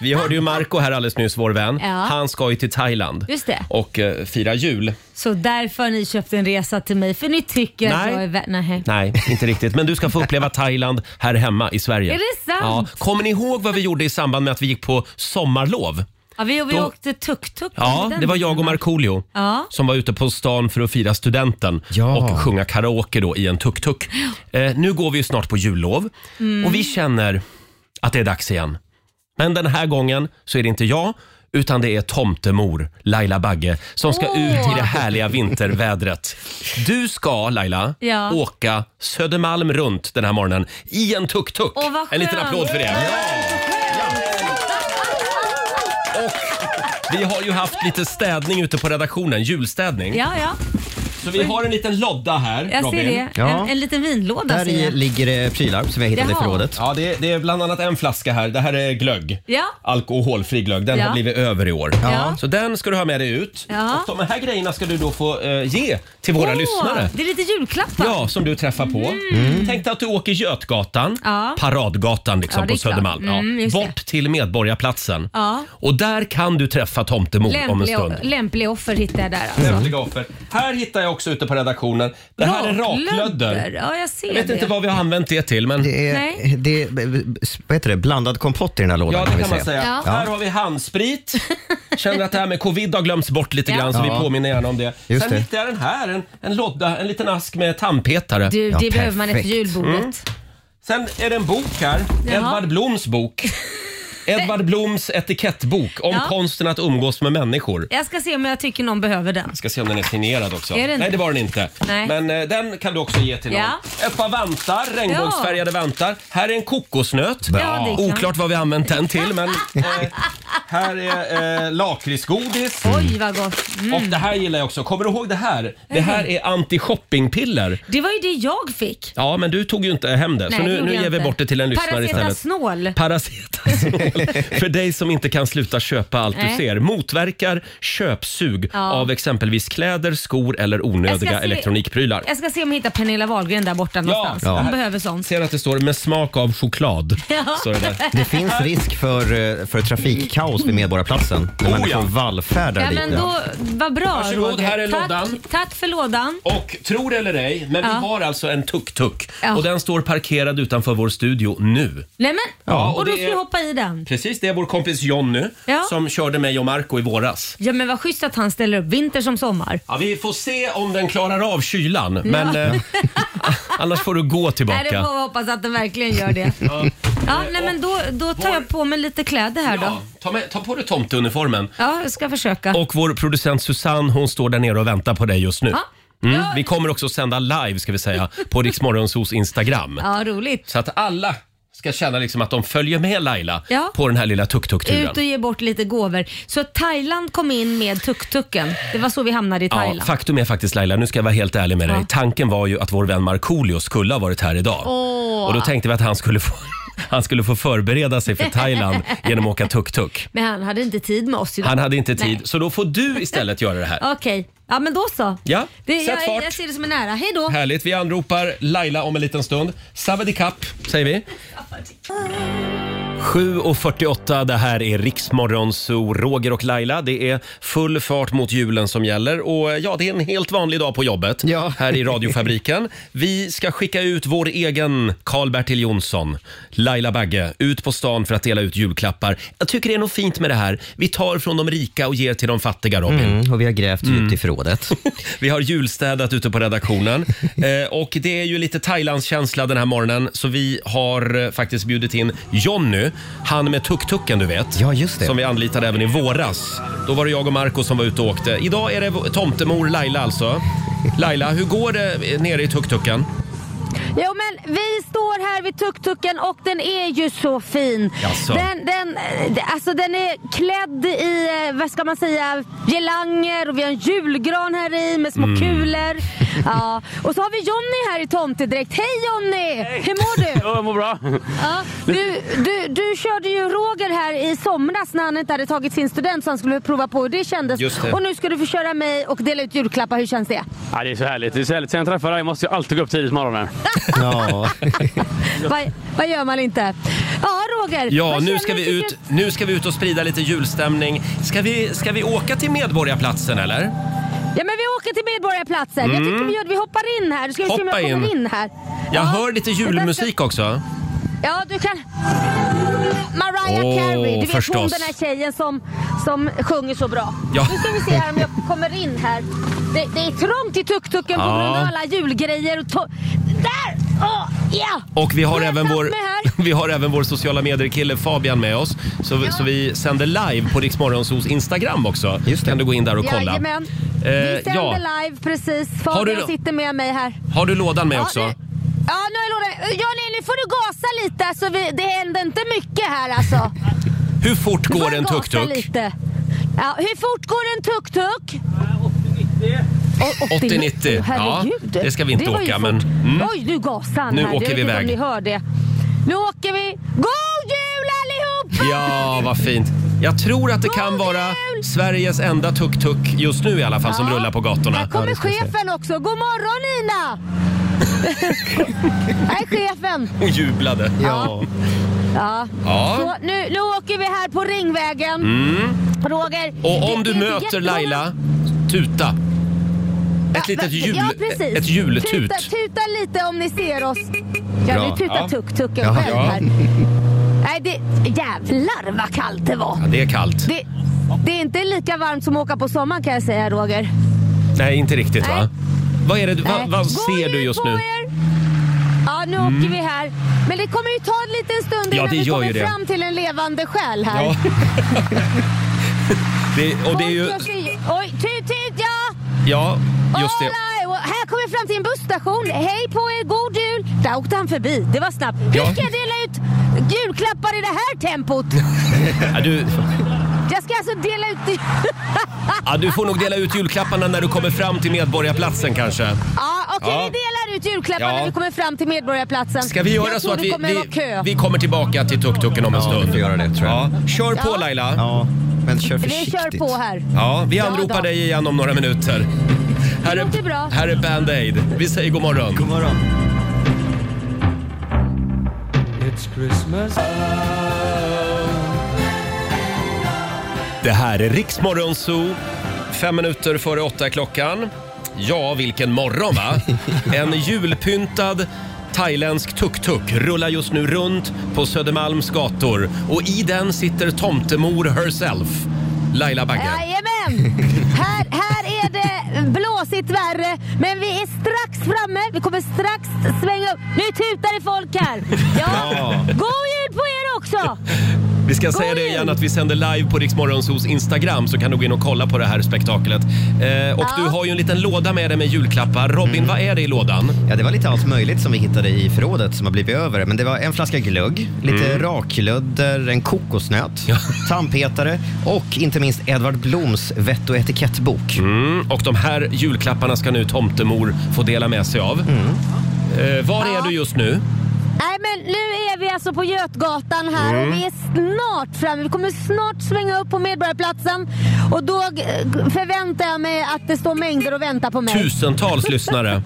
vi hörde ju Marco här alldeles nyss, vår vän. Ja. Han ska ju till Thailand Just det. och eh, fira jul. Så därför har ni köpt en resa till mig för ni tycker att Nej. jag är vä- Nej. Nej, inte riktigt. Men du ska få uppleva Thailand här hemma i Sverige. Är det sant? Kommer ni ihåg vad vi gjorde i samband med att vi gick på sommarlov? Ja, vi, vi Då- åkte tuk-tuk. Ja, Den det var tiden, jag och va? Markoolio Ja. som var ute på stan för att fira studenten Ja. och sjunga karaoke då i en tuk-tuk. Eh, nu går vi ju snart på jullov och vi känner att det är dags igen. Men den här gången så är det inte jag utan det är tomtemor Laila Bagge som ska Åh. ut i det härliga vintervädret. Du ska Laila Ja. åka Södermalm runt den här morgonen i en tuk-tuk. Åh, vad en liten skönt. applåd för det. Och vi har ju haft lite städning ute på redaktionen, julstädning. Ja, ja. Så vi har en liten lodda här, Jag Robin. ser det. Ja. En, en liten vinlåda Där ser i jag. ligger det prylar som jag hittade i Jaha. förrådet. Ja, det är, det är bland annat en flaska här. Det här är glögg. Ja. Alkoholfri glögg. Den Ja. har blivit över i år. Ja. Så den ska du ha med dig ut. Ja. Och de här grejerna ska du då få eh, ge till våra Åh, lyssnare. Det är lite julklappar. Ja, som du träffar på. Tänk dig att du åker Götgatan, Ja. Paradgatan liksom Ja, det på är klart. Södermalm. Mm, ja. just det. Bort till Medborgarplatsen. Ja. Och där kan du träffa tomtemor om en Lämplig, stund. lämplig offer hittar jag där alltså. Lämpliga offer. Här hittar jag jag också ute på redaktionen. Det här är raklödder. Ja, jag ser Jag vet det. inte vad vi har använt det till, men Det Nej. är, det är vad heter det, blandad kompott i den här lådan ja, det vi kan man säga. Ja. Här har vi handsprit. Känner att det här med covid har glömts bort lite Ja. grann, så vi Ja. påminner gärna om det. Just Sen det. hittade jag den här, en, en lodda, en liten ask med tandpetare. Du, det Ja, behöver man efter perfekt. julbordet. Mm. Sen är det en bok här, Jaha. Edvard Bloms bok. Edvard Bloms etikettbok om Ja. konsten att umgås med människor. Jag ska se om jag tycker någon behöver den. Ska se om den är signerad också. Är den Nej, det det? var den inte. Nej. Men eh, den kan du också ge till någon. Ja. Ett par vantar, regnbågsfärgade vantar. Här är en kokosnöt. Bra. Ja, det kan- Oklart vad vi har använt den till, (laughs) men eh, här är eh, lakritsgodis. Oj vad gott. Mm. Och det här gillar jag också. Kommer du ihåg det här? Det här är anti-shoppingpiller. Det var ju det jag fick. Ja, men du tog ju inte hem det, Nej, så det nu, gjorde nu jag ger vi inte. bort det till en lyssnare istället. Paracetasnål. (laughs) Paracetasol. För dig som inte kan sluta köpa allt du Nej. ser. Motverkar köpsug Ja. av exempelvis kläder, skor eller Jag ska onödiga se- elektronikprylar. Jag ska se om jag hittar Pernilla Wahlgren där borta någonstans. Ja. Hon behöver sånt. Ser att det står med smak av choklad. (laughs) Ja. Så det där. Det finns risk för, eh, för trafikkaos vid Medborgarplatsen när människor Oh, ja. vallfärdar Ja, dit. men då, vad bra Varsågod, Roger. här är tack, lådan. tack för lådan. Och tro det eller ej, men vi Ja. har alltså en tuk-tuk. Ja. Och den står parkerad utanför vår studio nu. Nej, men, Ja, och och då det ska är- vi hoppa i den. Precis, det är vår kompis Jonny Ja. som körde mig och Marco i våras. Ja men vad schysst att han ställer upp vinter som sommar. Ja, vi får se om den klarar av kylan, men eh, (laughs) annars får du gå Nej, det tillbaka. får vi hoppas att den verkligen (laughs) gör det. ja, nej, men då, då tar jag på mig lite kläder här Ja, då. ta, med, ta på dig tomteuniformen. Ja, jag ska försöka. Och vår producent Susanne, hon står där nere och väntar på dig just nu. Ja. Mm. Ja. Vi kommer också sända live ska vi säga (laughs) på Riksmorgonsos Instagram. Ja, roligt. Så att alla ska känna liksom att de följer med Laila Ja. på den här lilla tuk-tuk-turen. Ut och ge bort lite gåvor. Så Thailand kom in med tuk-tuken. Det var så vi hamnade i Ja, Thailand. faktum är faktiskt Laila, nu ska jag vara helt ärlig med dig. Ja. Tanken var ju att vår vän Markoolio skulle ha varit här idag. Åh. Och då tänkte vi att han skulle få, (laughs) han skulle få förbereda sig för (laughs) Thailand genom att åka tuk-tuk. Men han hade inte tid med oss idag. Han hade inte tid, Nej. så då får du istället göra det här. Okej, ja men då så. Ja, det, sätt jag, fart. jag ser det som en ära. Hej då. Härligt, vi anropar Laila om en liten stund. Savadikap säger vi. 7.48, det här är Riksmorgon, så Roger och Laila. Det är full fart mot julen som gäller och ja, det är en helt vanlig dag på jobbet Ja. (laughs) här i radiofabriken. Vi ska skicka ut vår egen Karl-Bertil Jonsson, Laila Bagge, ut på stan för att dela ut julklappar. Jag tycker det är något fint med det här. Vi tar från de rika och ger till de fattiga, Robin. Mm, och vi har grävt djupt (laughs) i förrådet. Vi har julstädat ute på (laughs) redaktionen. Eh, och det är ju lite Thailandskänsla den här morgonen så vi har eh, faktiskt bjudit in Jonny, han med tuk-tuken du vet. Ja, just det. Som vi anlitade även i våras. Då var det jag och Marco som var ute och åkte. Idag är det v- tomtemor Laila alltså. Laila, hur går det eh, nere i tuk-tuken? Jo men vi står här vid tuk-tuken och den är ju så fin. Jaså? Den, den, eh, alltså, den är klädd i, eh, vad ska man säga, gelanger och vi har en julgran här i med små Mm. (laughs) kulor. Ja. Och så har vi Jonny här i tomtedräkt. Hej Jonny! Hur (laughs) mår du? Jag mår bra. Ja. Du, du, du körde ju Roger här i somras när han inte hade tagit sin student så han skulle prova på hur det kändes. Just det. Och nu ska du få köra mig och dela ut julklappar. Hur känns det? Ja, det är så härligt. Det är så härligt. Sen jag träffade dig måste jag alltid gå upp tidigt på morgonen. ja. Vad, vad gör man inte? Ja Roger. (laughs) Ja, vad nu känner ska, du vi till ut, nu ska vi ut och sprida lite julstämning. Ska vi, ska vi åka till Medborgarplatsen eller? Ja men vi åker till Medborgarplatsen. Jag tycker vi gör det. Vi hoppar in här. Nu ska vi se om Mm. Hoppa jag kommer in. in, här. Jag ja. hör lite julmusik också. Ja du kan... Mariah Åh, Carey. Du vet hon förstås. den här tjejen som, som sjunger så bra. Ja. Nu ska vi se här om jag kommer in här. Det, det är trångt i tuk-tuken på Ja. grund av alla julgrejer och to- Där! Åh, ja! Och vi har, Nu har jag även satt vår, mig här. (laughs) vi har även vår sociala medier-kille Fabian med oss. Så, så vi sänder live på Rix Morgonzos Instagram också. Just det. Kan du gå in där och kolla. Jajamän. Eh, vi sänder ja. live precis. Har du Fabian då- sitter med mig här. Har du lådan med Ja, också? nu- Ja, nu är Lola. Ja, nej, nu får du gasa lite. Alltså, vi, det händer inte mycket här alltså. Hur fort Nu får går du en gasa tuk-tuk? lite. Ja, hur fort går en tuk-tuk? 80-90. Åh, herregud. Ja, det ska vi inte Det var ju åka, fort. men, mm. Oj, nu gasar han Nu här. åker jag vi vet iväg. Inte om ni hör det. Nu åker vi. God jul allihopa! (laughs) Ja, vad fint. Jag tror att det kan God vara jul! Sveriges enda tuk-tuk just nu i alla fall som Ja. rullar på gatorna. Här kommer det ska jag säga. chefen också. God morgon Nina! (laughs) Här är chefen. Hon jublade. Ja. Ja. Ja. Mm. Så nu, nu åker vi här på Ringvägen. Roger. Och om det- du det är inte möter jättemånga- Laila, tuta. Ett litet jul, Ja, precis. ett jultut. Tuta, tuta lite om ni ser oss. Ja, Bra. nu tutar Ja. tuk-tuken Ja. själv Ja. här. Nej, det, jävlar vad kallt det var. Ja, det är kallt. Det, det är inte lika varmt som att åka på sommaren kan jag säga Roger. Nej, inte riktigt va? Vad, är det, du- va, Nej. vad Gå ser du nu just på nu? er. Ja, nu Mm. åker vi här. Men det kommer ju ta en liten stund Ja, innan det vi gör kommer ju det. fram till en levande själ här. Ja. (laughs) Det, och det är ju... Jag ska ju- Oj, tut tut ja! Ja, just det. Hola! Och Här kommer vi fram till en busstation. Hej på er, god jul! Där åkte han förbi. Det var snabbt. Hur Ja. ska jag dela ut julklappar i det här tempot? Ja, du, Jag ska alltså dela ut... i- ja, du får nog dela ut julklapparna när du kommer fram till Medborgarplatsen kanske. ja, okej, Ja. vi delar ut julklappar Ja. när vi kommer fram till Medborgarplatsen. Ska vi göra jag så tror att det vi, kommer vi, vara kö. vi kommer tillbaka till tuk-tuken om en stund? Ja, vi får göra det tror jag. Kör på Ja. Laila! Ja, men kör Vi kör på här. Ja, vi Ja, anropar då. dig igen om några minuter. Här låter bra. är, här är Band Aid. Vi säger god morgon. God morgon. Det här är Riksmorgon Zoo. Fem minuter före åtta är klockan. Ja, vilken morgon va? En julpyntad thailändsk tuk-tuk rullar just nu runt på Södermalms gator och i den sitter tomtemor herself, Laila Bagge. Jajamän! Här, här är det blåsigt värre, men vi är strax framme. Vi kommer strax svänga upp. Nu tutar det folk här. Ja. Ja. God jul på er också! Vi ska säga det igen att vi sänder live på Riksmorgonsos Instagram så kan du gå in och kolla på det här spektaklet. Eh, och Ja. du har ju en liten låda med dig med julklappar. Robin, vad är det i lådan? Ja, det var lite allt möjligt som vi hittade i förrådet som har blivit över. Men det var en flaska glögg, lite Mm. raklödder, en kokosnöt, tandpetare och inte minst Edvard Bloms vett och etikettbok. Mm, och de här julklapparna ska nu tomtemor få dela med sig av. Eh, var är du just nu? Nej men nu är vi alltså på Götgatan här Mm. och vi är snart framme. Vi kommer snart svänga upp på Medborgarplatsen och då eh, förväntar jag mig att det står mängder och väntar på mig. (laughs) Tusentals lyssnare.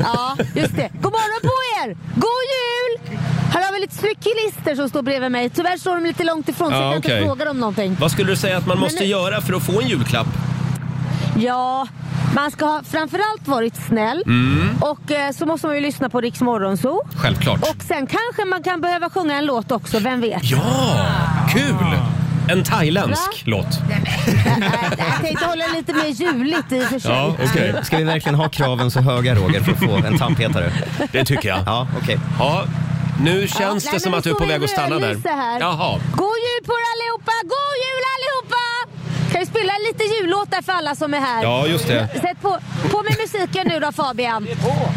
Ja, just det. God morgon på er! God jul! Här har vi lite cyklister som står bredvid mig. Tyvärr står de lite långt ifrån så Ja, jag kan okej. inte fråga dem någonting. Vad skulle du säga att man Men måste nu- göra för att få en julklapp? Ja, man ska ha framförallt varit snäll Mm. och eh, så måste man ju lyssna på Rix Morgonzoo. Självklart. Och sen kanske man kan behöva sjunga en låt också, vem vet? Ja, kul! En thailändsk låt. Jag tänkte hålla lite mer juligt i och för sig. ska, ska vi verkligen ha kraven så höga Roger för att få en tandpetare? Det tycker jag. Ja, okej. (laughs) Ja, nu känns Ja, det nej, som men att du är står på en väg att stanna där. rödlysa Här. Jaha. God jul på er allihopa! God jul allihopa! Kan vi spela lite jullåtar för alla som är här? Ja, just det. Sätt på, på med musiken nu då Fabian.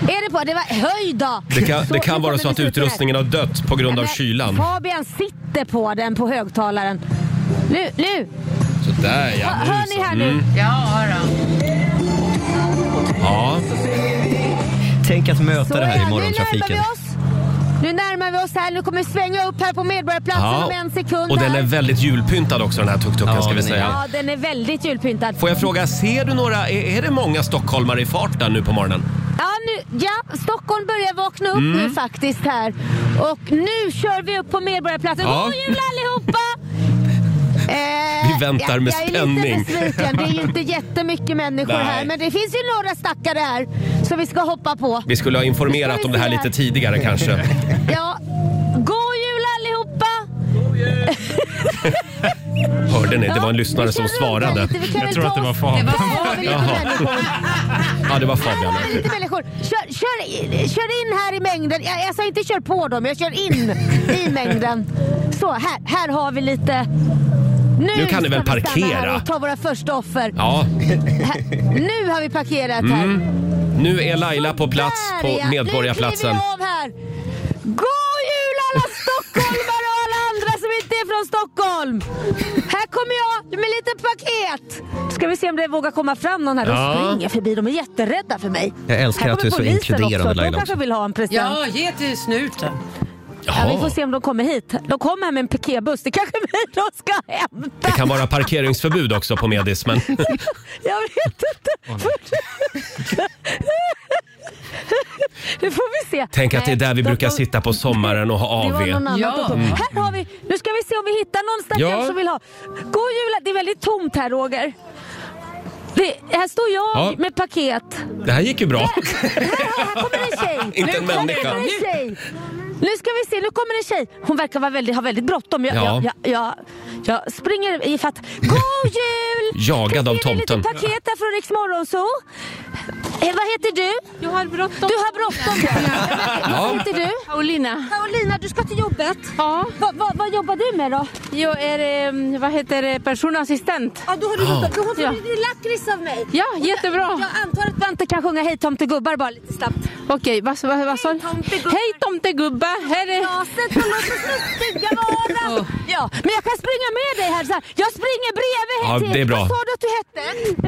Är det på? Det var, höj då! Det kan, Så, det nu kan kommer vara så att musiken här. utrustningen har dött på grund av kylan. Fabian sitter på den på högtalaren. Nu, nu! Sådär ja. Hör, hör ni här nu? Mm. Ja, då. Ja. Alltså, Tänk att möta det här i Nu morgontrafiken. närmar vi oss. Nu närmar vi oss här. Nu kommer vi svänga upp här på Medborgarplatsen Ja, om en sekund. Och den här. är väldigt julpyntad också den här tuk-tuken ska vi Ja, säga. den är väldigt julpyntad. Får jag fråga, ser du några, är, är det många stockholmare i farten nu på morgonen? Ja, nu, ja, Stockholm börjar vakna upp Mm. nu faktiskt här. Och nu kör vi upp på Medborgarplatsen. Ja. God jul allihopa! Eh, (laughs) Vi väntar med jag, Jag är spänning. lite besviken. Det är ju inte jättemycket människor Nej. här. Men det finns ju några stackare här som vi ska hoppa på. Vi skulle ha informerat om det här lite tidigare (laughs) kanske. Ja, god jul allihopa! Hörde ni? Det var en lyssnare som svarade. Jag tror att det var Fabian. Jaha. Ja, det var Fabian. Lite människor. Kör, kör, kör in här i mängden. Jag, jag sa inte kör på dem, jag kör in i mängden. Så, här, här har vi lite... Nu kan ni väl ska vi stanna här parkera? och ta våra första offer. Ja. Här, nu har vi parkerat här. Mm. Nu är Laila på plats Här är på jag. Medborgarplatsen. Nu kliver jag av här. God jul alla stockholmare och alla andra som inte är från Stockholm. Här kommer jag med lite paket. Ska vi se om det vågar komma fram någon här. De Ja. springer förbi. De är jätterädda för mig. Jag älskar Här att du är kommer så polisen inkluderande, också. Laila, De kanske också. vill ha en present. Ja, ge till snuten. Ja, vi får se om de kommer hit. De kommer här med en piketbuss. Det kanske är mig de ska hämta. Det kan vara parkeringsförbud också på Medis, (laughs) men... Jag vet inte. (laughs) nu får vi se. Tänk att det är där vi Nej, de brukar får- sitta på sommaren och ha Det var AV. någon annan som tog. Mm. Här har vi, nu ska vi se om vi hittar någon stackare Ja. som vill ha. God jul, det är väldigt tomt här Roger. Det, här står jag Ja. med paket. Det här gick ju (laughs) bra. Här kommer en tjej! (laughs) Inte en nu kommer människa. en tjej! Nu ska vi se, nu kommer en tjej. Hon verkar vara väldigt, ha väldigt bråttom. Jag, Ja. jag, jag, jag, jag springer ifatt. God jul! (laughs) Jagad av Fick in ett tomten. litet paket här från Rix Morgonzoo. Eh, vad heter du? Du har bråttom. Du har bråttom (laughs) ja. Ja. Vad heter du? Paulina. Paulina, du ska till jobbet. Ja. Va, va, vad jobbar du med då? Jag är, eh, vad heter det, personassistent. Ja, då har du Ja. gjort, då har du Ja. blivit lakrits av mig. Ja, jättebra. Jag antar att Bente kan sjunga Hej tomtegubbar bara lite snabbt. Okej, vad vad- vad sa du? tomtegubbar. Hej tomtegubbe! Här är... Oh. glaset och låt oss lustiga vara. Ja, men jag kan springa med dig här. Så här. Jag springer bredvid här Ja, till. det är bra. Vad sa du att du hette?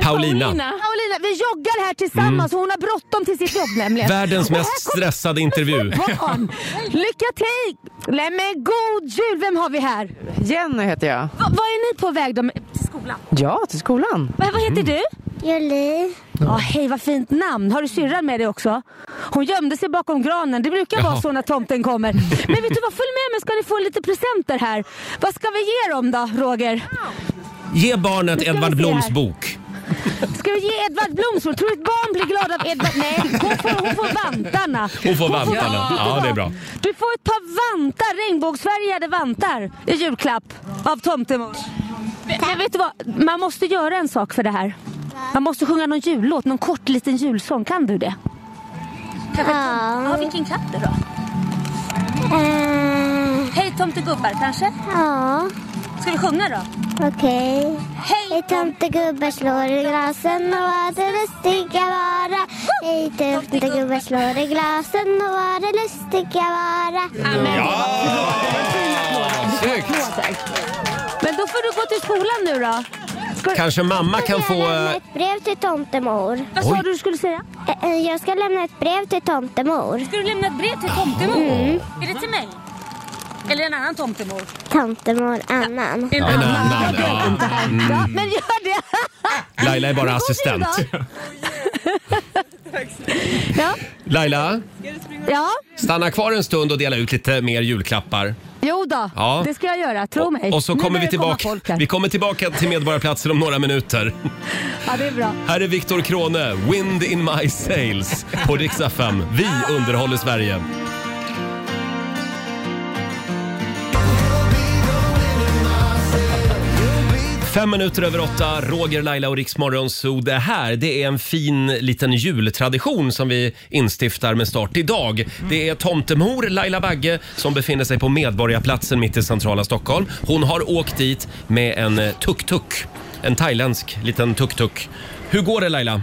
Paulina. Mm. Paulina, vi joggar här tillsammans och hon har bråttom till sitt jobb nämligen. Världens Och här mest kommer stressade intervju. barn. (laughs) Lycka till! Nej men god jul, vem har vi här? Jenny heter jag. Va, vad är ni på väg då? med- Till skolan? Ja, till skolan. Va, vad heter du? Julie. Ja, hej vad fint namn. Har du syrran med dig också? Hon gömde sig bakom granen. Det brukar Jaha. vara så när tomten kommer. Men vet du vad, följ med mig ska ni få lite presenter här. Vad ska vi ge dem då, Roger? Ge barnet Nu ska vi Edvard se Bloms här. bok. Ska vi ge Edvard blomstror? Tror du ett barn blir glad av Edvard? Nej, hon får, hon får vantarna. Hon får vantarna. vet du Ja, det är vad? bra. Du får ett par vantar, regnbågsfärgade vantar i julklapp av tomtemor. Men, men vet du vad? Man måste göra en sak för det här. Man måste sjunga någon jullåt, någon kort liten julsång. Kan du det? Kanske ja. ja. Vilken katt det då? Hej tomtegubbar kanske? Ja, Ska vi sjunga då? okej. Hej tomtegubbar slår i glasen och vad det lustiga vara. Hej tomtegubbar slår i glasen och vad det lustiga vara. Men då får du gå till skolan nu då. Ska- Kanske mamma kan Jag få... lämnar eh, ett brev till tomtemor. Vad sa du du skulle säga? Eh, eh, Jag ska lämna ett brev till tomtemor. Mm. Ska du lämna ett brev till tomtemor? Är det till mig? Eller en annan tomtemor? Tomtemor annan. En En annan. Ja. Mm. Ja, men gör det! Laila är bara Men gå till assistent. Ja, Laila, ja. stanna kvar en stund och dela ut lite mer julklappar. Jo då, Ja. det ska jag göra. Tro mig. Och så Nu kommer vi börjar det komma tillbaka, folk här. vi kommer tillbaka till Medborgarplatsen om några minuter. Ja, det är bra. Här är Viktor Krone, Wind in my sails på Rix FM. Vi underhåller Sverige. Fem minuter över åtta, Roger, Laila och Riksmorgon. Så det här det är en fin liten jultradition som vi instiftar med start idag. Det är tomtemor Laila Bagge som befinner sig på Medborgarplatsen mitt i centrala Stockholm. Hon har åkt dit med en eh, tuk-tuk. En thailändsk liten tuk-tuk. Hur går det Laila?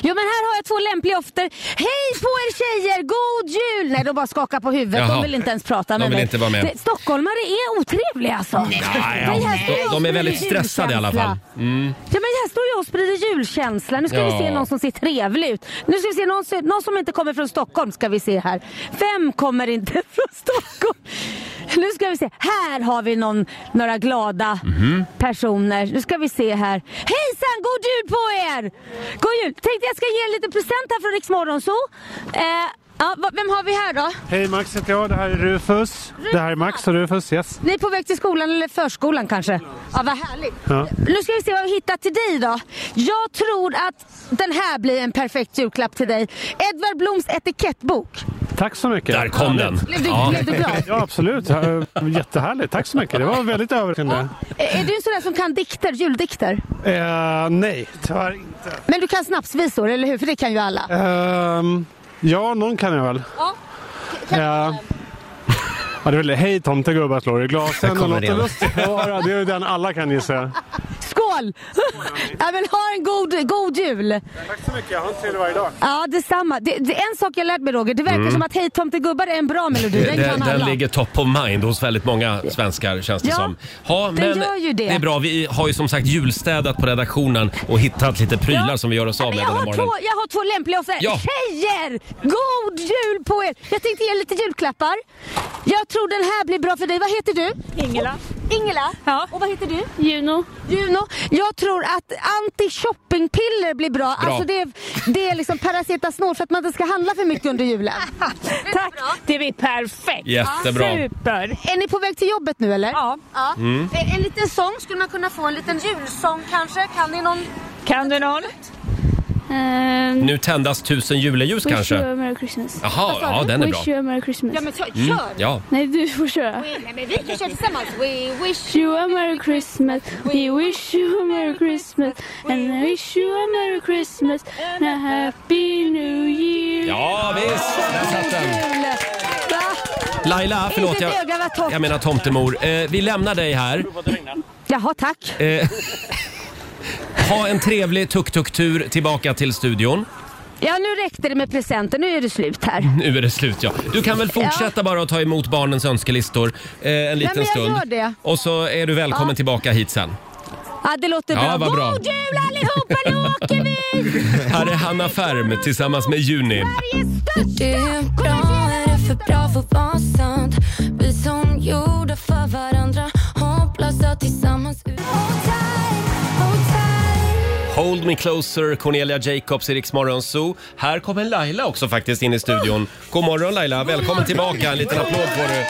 Jo men här har jag två lämpliga offer. Hej på er tjejer, god jul! Nej de bara skakar på huvudet, Jaha. de vill inte ens prata De med vill mig. inte vara med. Det- Stockholmare är otrevliga alltså. Nej, ja, de- de är väldigt stressade i alla fall. Mm. Ja men här står jag och sprider julkänsla. Nu ska Ja. vi se någon som ser trevlig ut. Nu ska vi se någon, som- någon som inte kommer från Stockholm ska vi se här. Vem kommer inte (laughs) från Stockholm? Nu ska vi se. Här har vi någon, några glada personer. Nu ska vi se här. Hejsan! God jul på er! God jul! Tänkte jag ska ge er lite present här från Rix Morgonzoo. Eh, ja, va- vem har vi här då? Hej Max heter jag, det här är Rufus. Det här är Max och Rufus, yes. Ni är på väg till skolan eller förskolan kanske? Ja, vad härligt. Ja. Nu ska vi se vad vi hittar till dig då. Jag tror att den här blir en perfekt julklapp till dig. Edvard Bloms etikettbok. Tack så mycket. Där kom den. Blev du- blev du glad? Ja absolut, Ja, jättehärligt. Tack så mycket, det var väldigt överraskande. Är är du en sån där som kan dikter, juldikter? Eh, nej, tyvärr inte. Men du kan snapsvisor, eller hur? För det kan ju alla. Ehm, ja, någon kan jag väl. Ja. Eh, Ja, det är väl det. Hej tomtegubbar slår i Där glasen och kommer låter den. lustigt vara. Det är ju den alla kan gissa. Skål! (laughs) Ja, men ha en god, god jul! Tack så mycket, ha en trevlig varje dag. Ja, detsamma. Det, det är en sak jag lärt mig Roger. Det verkar Mm. som att Hej tomtegubbar är en bra melodi. Den Den, kan alla. den ligger top of mind hos väldigt många svenskar känns det Ja, som. Ja, den gör ju det. är bra. Vi har ju som sagt julstädat på redaktionen och hittat lite prylar som vi gör oss av med Jag den här har, morgonen. två, jag har två lämpliga offer. Ja. Tjejer! God jul på er! Jag tänkte ge er lite julklappar. Jag tror den här blir bra för dig. Vad heter du? Ingela. Ingela? Ja. Och vad heter du? Juno. Juno. Jag tror att anti-shoppingpiller blir bra. Alltså det, är, det är liksom paracetasnol för att man inte ska handla för mycket under julen. Tack! (laughs) Det blir perfekt! Jättebra. Super! Är ni på väg till jobbet nu eller? Ja. Mm. En, en liten sång, skulle man kunna få en liten julsång kanske? Kan ni någon? Kan du någon? Nu tändas tusen juleljus Wish kanske? you a merry Christmas. Jaha, Vad sa ja, du? den är wish bra. You a merry Christmas. Ja, men ta, Mm, ja. Nej, du får köra. Nej, men vi kan köra tillsammans. We Wish you a merry Christmas. We wish you a merry Christmas. And I wish you a merry Christmas. And a happy new year. Ja, visst! Där satt den. Laila, förlåt. Inte Jag, ett öga var torrt. jag menar tomtemor. Eh, vi lämnar dig här. Jaha, tack. Eh, ha en trevlig tuk-tuk-tur tillbaka till studion. Ja, nu räckte det med presenter. Nu är det slut här. (laughs) Nu är det slut ja. Du kan väl fortsätta bara att ta emot barnens önskelistor eh, en liten men jag stund. gör det. Och så är du välkommen Ja. tillbaka hit sen. Ja, det låter Ja, bra. vad bra. God jul allihopa! Nu åker vi! Här är Hanna Färm tillsammans med Juni. Det är bra, är det för bra för att vara sant? Vi som gjorde för varandra, hopplösa tillsammans Hold me closer, Cornelia Jacobs i Rix Morgon Zoo. Här kommer Laila också faktiskt in i studion. God morgon Laila, välkommen tillbaka. En liten applåd får du.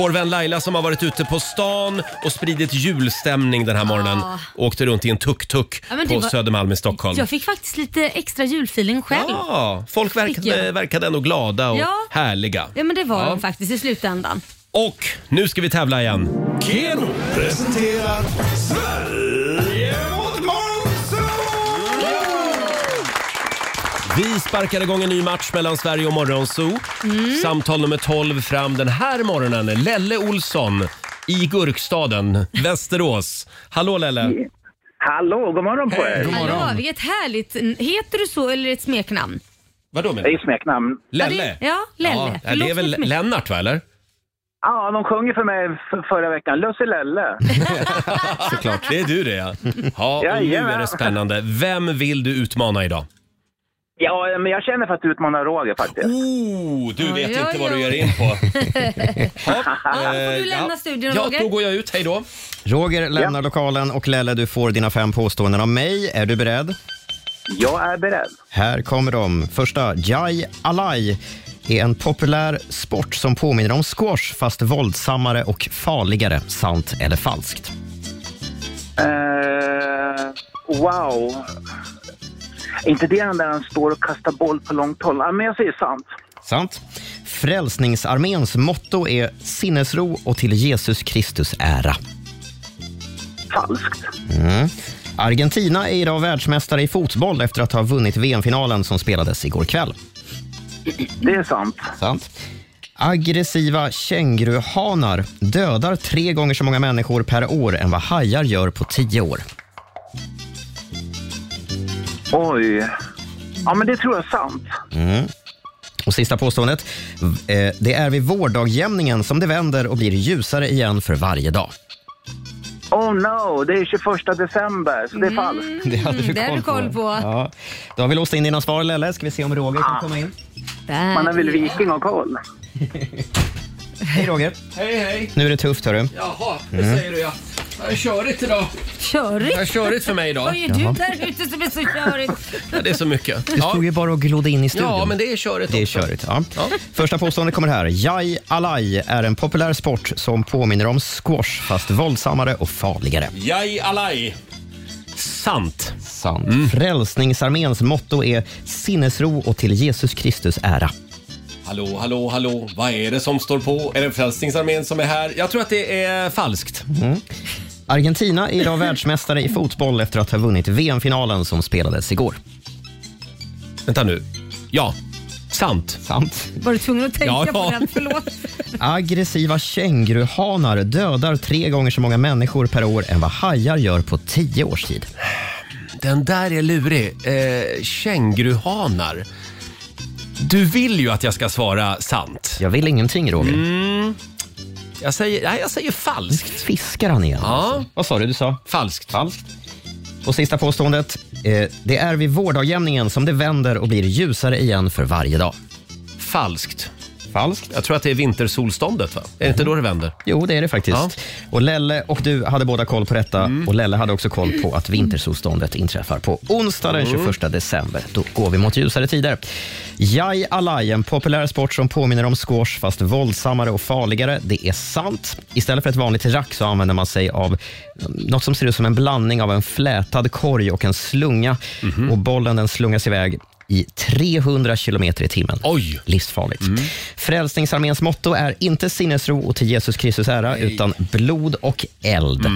Vår vän Laila som har varit ute på stan och spridit julstämning den här morgonen. Ja. Åkte runt i en tuk-tuk Ja, men det på var- Södermalm i (laughs) Stockholm. Jag fick faktiskt lite extra julfeeling själv. Ja, Ah, folk Fick jag. verkade, verkade ändå glada och Ja. härliga. Ja men det var Ja. de faktiskt i slutändan. Och nu ska vi tävla igen. Keno presenterar Sverige mot Vi sparkar igång en ny match mellan Sverige och Morgonzoo. Mm. Samtal nummer 12 fram den här morgonen. Lelle Olsson i Gurkstaden, Västerås. Hallå Lelle! Hallå, god morgon på er! Hallå, vilket härligt. Heter du så eller är det ett smeknamn? Vadå menar du? Det är smeknamn. Lelle? Ja, Lelle. Ja, det är Förlåt väl för smek- Lennart va, eller? Ja, de sjunger för mig f- förra veckan. Lusse Lelle. Såklart. Det är du det ja. Ja, och nu Jajamän. är det spännande. Vem vill du utmana idag? Ja, men jag känner för att utmana Roger faktiskt. Oh, du vet Oj, inte oj, vad du oj. ger in på. Ja, då får Eh, du lämna studion ja, Roger. då går jag ut. Hej då. Roger lämnar lokalen och Lelle, du får dina fem påståenden av mig. Är du beredd? Jag är beredd. Här kommer de. Första, Jai Alai är en populär sport som påminner om squash fast våldsammare och farligare. Sant eller falskt? Eh, wow. Är inte det den där han står och kastar boll på långt håll? Ja, men jag säger sant. Sant. Frälsningsarméns motto är sinnesro och till Jesus Kristus ära. Falskt. Mm. Argentina är idag världsmästare i fotboll efter att ha vunnit VM-finalen som spelades igår kväll. Det är sant. Sant. Aggressiva känguruhanar dödar tre gånger så många människor per år än vad hajar gör på tio år. Oj. Ja, men det tror jag är sant. Mm. Och sista påståendet. Eh, Det är vid vårdagjämningen som det vänder och blir ljusare igen för varje dag. Oh no, det är 21 december, så det är falskt. (laughs) Det hade du Mm, det hade koll, du koll på. Ja. Då har vi låst in dina svar, Lelle. Ska vi se om Roger kan komma in. Man är väl viking och koll. Hej, Roger. Hej, hej. Nu är det tufft, hörru. Jaha, det Mm. säger du ja. Jag är körigt idag. Körigt? Jag är körigt för mig idag. Vad är du Jaha. där ute som är så körigt? Ja, det är så mycket. Du stod ju bara och glodde in i studion. Ja, men det är körigt Det är också. körigt, ja. Första påståendet kommer här. Jai Alai är en populär sport som påminner om squash, fast våldsammare och farligare. Jai Alai. Sant. Sant. Mm. Frälsningsarméns motto är sinnesro och till Jesus Kristus ära. Hallå, hallå, hallå. Vad är det som står på? Är det Frälsningsarmén som är här? Jag tror att det är falskt. Mm. Argentina är (laughs) idag världsmästare i fotboll efter att ha vunnit VM-finalen som spelades igår. Vänta nu. Ja, sant. Sant. Var du tvungen att tänka Ja, på ja. den? Förlåt. Aggressiva känguruhanar dödar tre gånger så många människor per år än vad hajar gör på tio års tid. Den där är lurig. Eh, känguruhanar. Du vill ju att jag ska svara sant. Jag vill ingenting, Roger. Mm. Jag säger, nej, jag säger falskt. Fiskar han igen? Alltså. Vad sa du? Du sa? Falskt. Falskt. Och sista påståendet. Eh, det är vid vårdagjämningen som det vänder och blir ljusare igen för varje dag. Falskt. Falskt. Jag tror att det är vintersolståndet, va? Är det inte då det vänder? Jo, det är det faktiskt. Och Lelle och du hade båda koll på detta och Lelle hade också koll på att vintersolståndet inträffar på onsdag den Mm. 21 december. Då går vi mot ljusare tider. Jai Alai, en populär sport som påminner om squash fast våldsammare och farligare. Det är sant. Istället för ett vanligt rack så använder man sig av något som ser ut som en blandning av en flätad korg och en slunga. Och bollen den slungas iväg i 300 kilometer i timmen. Oj! Livsfarligt. Frälsningsarméns motto är inte sinnesro och till Jesus Kristus ära, utan blod och eld.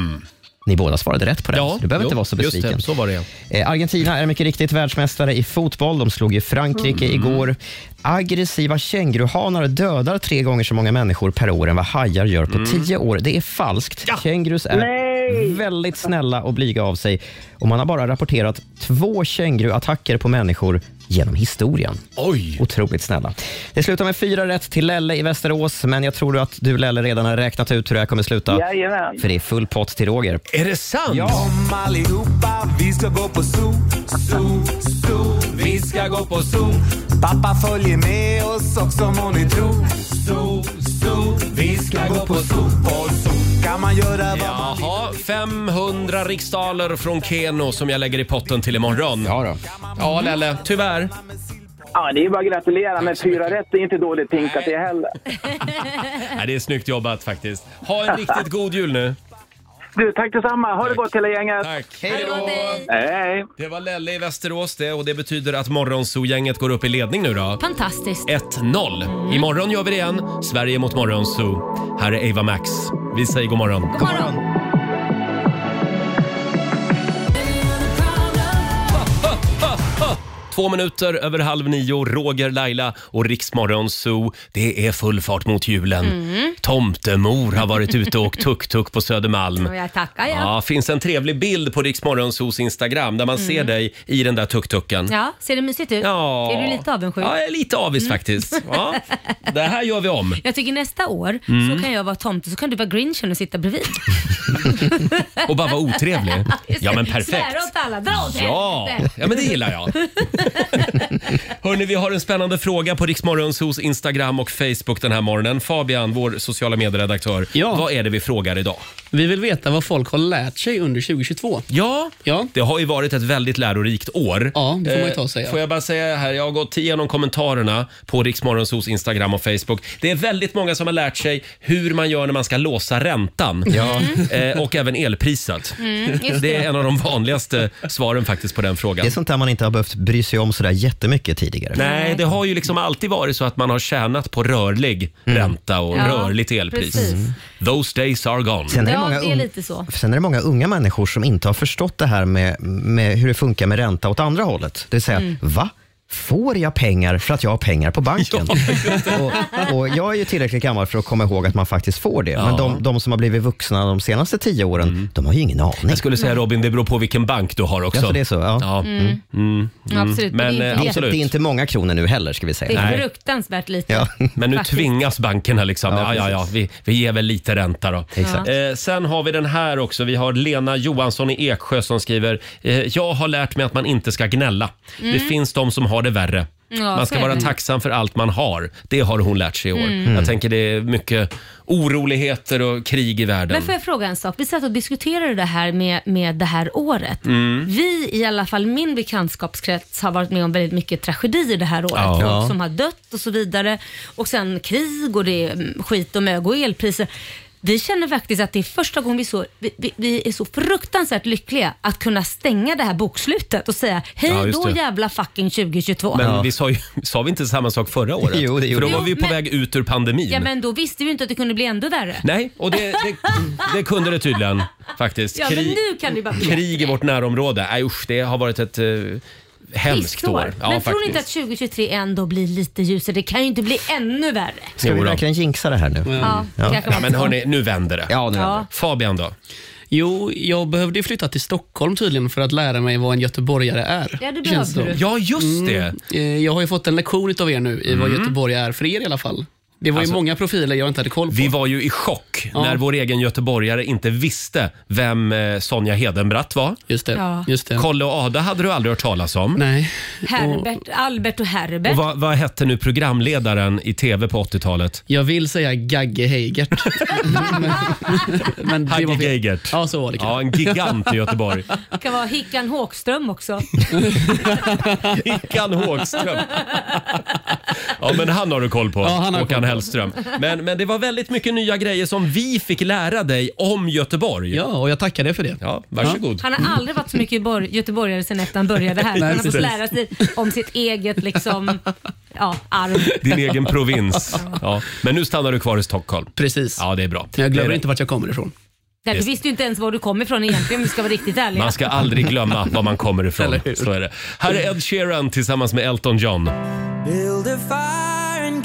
Ni båda svarade rätt på det, så du behöver Mm. jo, inte vara så just det. besviken. Så var det, Eh, Argentina är mycket riktigt världsmästare i fotboll. De slog ju Frankrike Mm. igår. Aggressiva känguruhanar dödar tre gånger så många människor per år än vad hajar gör Mm. på tio år. Det är falskt. Kängurus är väldigt snälla och blyga av sig. Och man har bara rapporterat två känguruattacker på människor genom historien. Oj! Otroligt snälla. Det slutar med fyra rätt till Lelle i Västerås, men jag tror att du Lelle redan har räknat ut hur det här kommer sluta. Jajamän. För det är full pott till Roger. Är det sant? Ja. Kom allihopa, vi ska gå på zoo, zoo, zoo. Vi ska gå på zoo. Pappa följer med oss också må ni tro. Zoo, zoo. Vi ska gå på zoo, på zoo. Kan man göra vad man vill. Jaha, 500 riksdaler från Keno som jag lägger i potten till imorgon. Ja då. Ja, Lelle, tyvärr. Ja, det är bara att gratulera, men fyra rätt är inte dåligt pinkat det heller. Nej, det är snyggt jobbat faktiskt. Ha en riktigt god jul nu. Du, tack detsamma. Ha det gott hela gänget. Tack. Hej då. Hej. Det var Lelle i Västerås det och det betyder att Morgonzoo-gänget går upp i ledning nu då. Fantastiskt. 1-0. Imorgon gör vi det igen. Sverige mot Morgonzoo. Här är Eva Max. Vi säger god morgon. God morgon. Två minuter över halv nio, Roger, Laila och Riksmorgonzoo. Det är full fart mot julen. Mm. Tomtemor har varit ute (laughs) och åkt tuk-tuk på Södermalm. Och jag tackar jag. Ja, finns en trevlig bild på Riksmorgonsos Instagram där man Mm. ser dig i den där tuk-tuken. Ja, ser det mysigt ut? Ja. Är du lite avundsjuk? Ja, jag är lite avis Mm. (laughs) faktiskt. Ja. Det här gör vi om. Jag tycker nästa år Mm. så kan jag vara tomte så kan du vara grinchen och (laughs) sitta bredvid. Och bara vara (laughs) otrevlig. Ja, men perfekt. Svära åt alla, dra åt Ja, helvete. ja men det gillar (laughs) jag. Hörni, vi har en spännande fråga på Riksmorgonsos Instagram och Facebook den här morgonen. Fabian, vår sociala medieredaktör. Vad är det vi frågar idag? Vi vill veta vad folk har lärt sig under 2022. Ja, det har ju varit ett väldigt lärorikt år. Ja, det får man ju ta och säga. Får jag bara säga här, jag har gått igenom kommentarerna på Riksmorgonsos Instagram och Facebook. Det är väldigt många som har lärt sig hur man gör när man ska låsa räntan eh, och även elpriset. Mm, just det är det. en av de vanligaste svaren faktiskt på den frågan. Det är sånt där man inte har behövt bry sig om sådär jättemycket tidigare. Nej, det har ju liksom alltid varit så att man har tjänat på rörlig Mm. ränta och Ja, rörligt elpris. Mm. precis. Those days are gone. Sen är det Ja, många det är un- Lite så. Sen är det många unga människor som inte har förstått det här med, med hur det funkar med ränta åt andra hållet. Det vill säga, Mm. va? Får jag pengar för att jag har pengar (laughs) på banken? och, och Jag är ju tillräckligt gammal för att komma ihåg att man faktiskt får det. Men de, de som har blivit vuxna de senaste tio åren, de har ju ingen aning. Mm. Jag skulle säga Robin, det beror på vilken bank du har också. Ja, så det är så. Ja. Mm. Absolut, men Men, det är eh, inte det. absolut. Det är inte många kronor nu heller, ska vi säga. Det är fruktansvärt lite. Men nu Faktiskt. tvingas bankerna liksom. Ja, Ja, ja, ja, vi, vi ger väl lite ränta då. Exakt. Eh, sen har vi den här också. Vi har Lena Johansson i Eksjö som skriver. Eh, jag har lärt mig att man inte ska gnälla. Mm. Det finns de som har det värre. Ja, man så ska är vara det. tacksam för allt man har. Det har hon lärt sig i år. Mm. Jag tänker det är mycket oroligheter och krig i världen. Men får jag fråga en sak? Vi satt och diskuterade det här med, med det här året. Mm. Vi, i alla fall min bekantskapskrets, har varit med om väldigt mycket tragedier det här året. Ja. Folk Ja. som har dött och så vidare. Och sen krig och det är mm, skit och mög och elpriser. Vi känner faktiskt att det är första gången vi, så, vi, vi, vi är så fruktansvärt lyckliga att kunna stänga det här bokslutet och säga hej Ja, just då det. jävla fucking 2022. Men vi sa, ju, (laughs) sa vi inte samma sak (laughs) förra året? Jo, det För gjorde då vi. var vi på men- väg ut ur pandemin. Ja men då visste vi inte att det kunde bli ändå värre. Nej, och det, det, det kunde det (laughs) tydligen faktiskt. Ja, men Krig- nu kan det ju bara bli krig i vårt närområde. Nej usch, det har varit ett eh, hemskt Pissår. år. Ja, Men tror ni faktiskt. inte att 2023 ändå blir lite ljusare? Det kan ju inte bli ännu värre. Ska vi verkligen jinxa det här nu? Ja, kanske man Nej, Mm. men ska. hörni, nu vänder det. Ja, nu vänder Ja. det. Fabian då? Jo, jag behövde ju flytta till Stockholm tydligen för att lära mig vad en göteborgare är. Ja, det känns behövde som. du. Ja, just Mm, eh, jag har ju fått en lektion utav er nu i vad Mm. Alltså, Göteborg är, för er i alla fall. Det var ju många profiler jag inte hade koll på. Vi var ju i chock när vår egen göteborgare inte visste vem eh, Sonja Hedenbratt var. Just det, Ja. just det. Kalle och Ada hade du aldrig hört talas om. Nej. Herbert, Albert och Herbert. Och vad, vad hette nu programledaren i tv på 80-talet? Jag vill säga (laughs) Gagge Heigert. Men det var Hagge fel. Geigert. Ja, så var det Ja, en gigant i (laughs) Göteborg. Det kan vara Hickan Håkström också. Hickan Håkström. Ja, men han har du koll på. Ja, han har Håkan koll på. Hellström. Men, men det var väldigt mycket nya grejer som vi fick lära dig om Göteborg. Ja, och jag tackar dig för det. Ja, varsågod. Han har aldrig varit så mycket Göteborg- göteborgare sen efter han började här. Nej, han har fått precis. lära sig om sitt eget liksom, ja, arv. Din egen provins. Ja. Men nu stannar du kvar i Stockholm. Precis. Ja, det är bra. Jag glömmer Det är- inte vart jag kommer ifrån. Där, du visste ju inte ens var du kom ifrån egentligen om vi ska vara riktigt ärliga. Man ska aldrig glömma var man kommer ifrån. Så är det. Här är Ed Sheeran tillsammans med Elton John. Build a fire and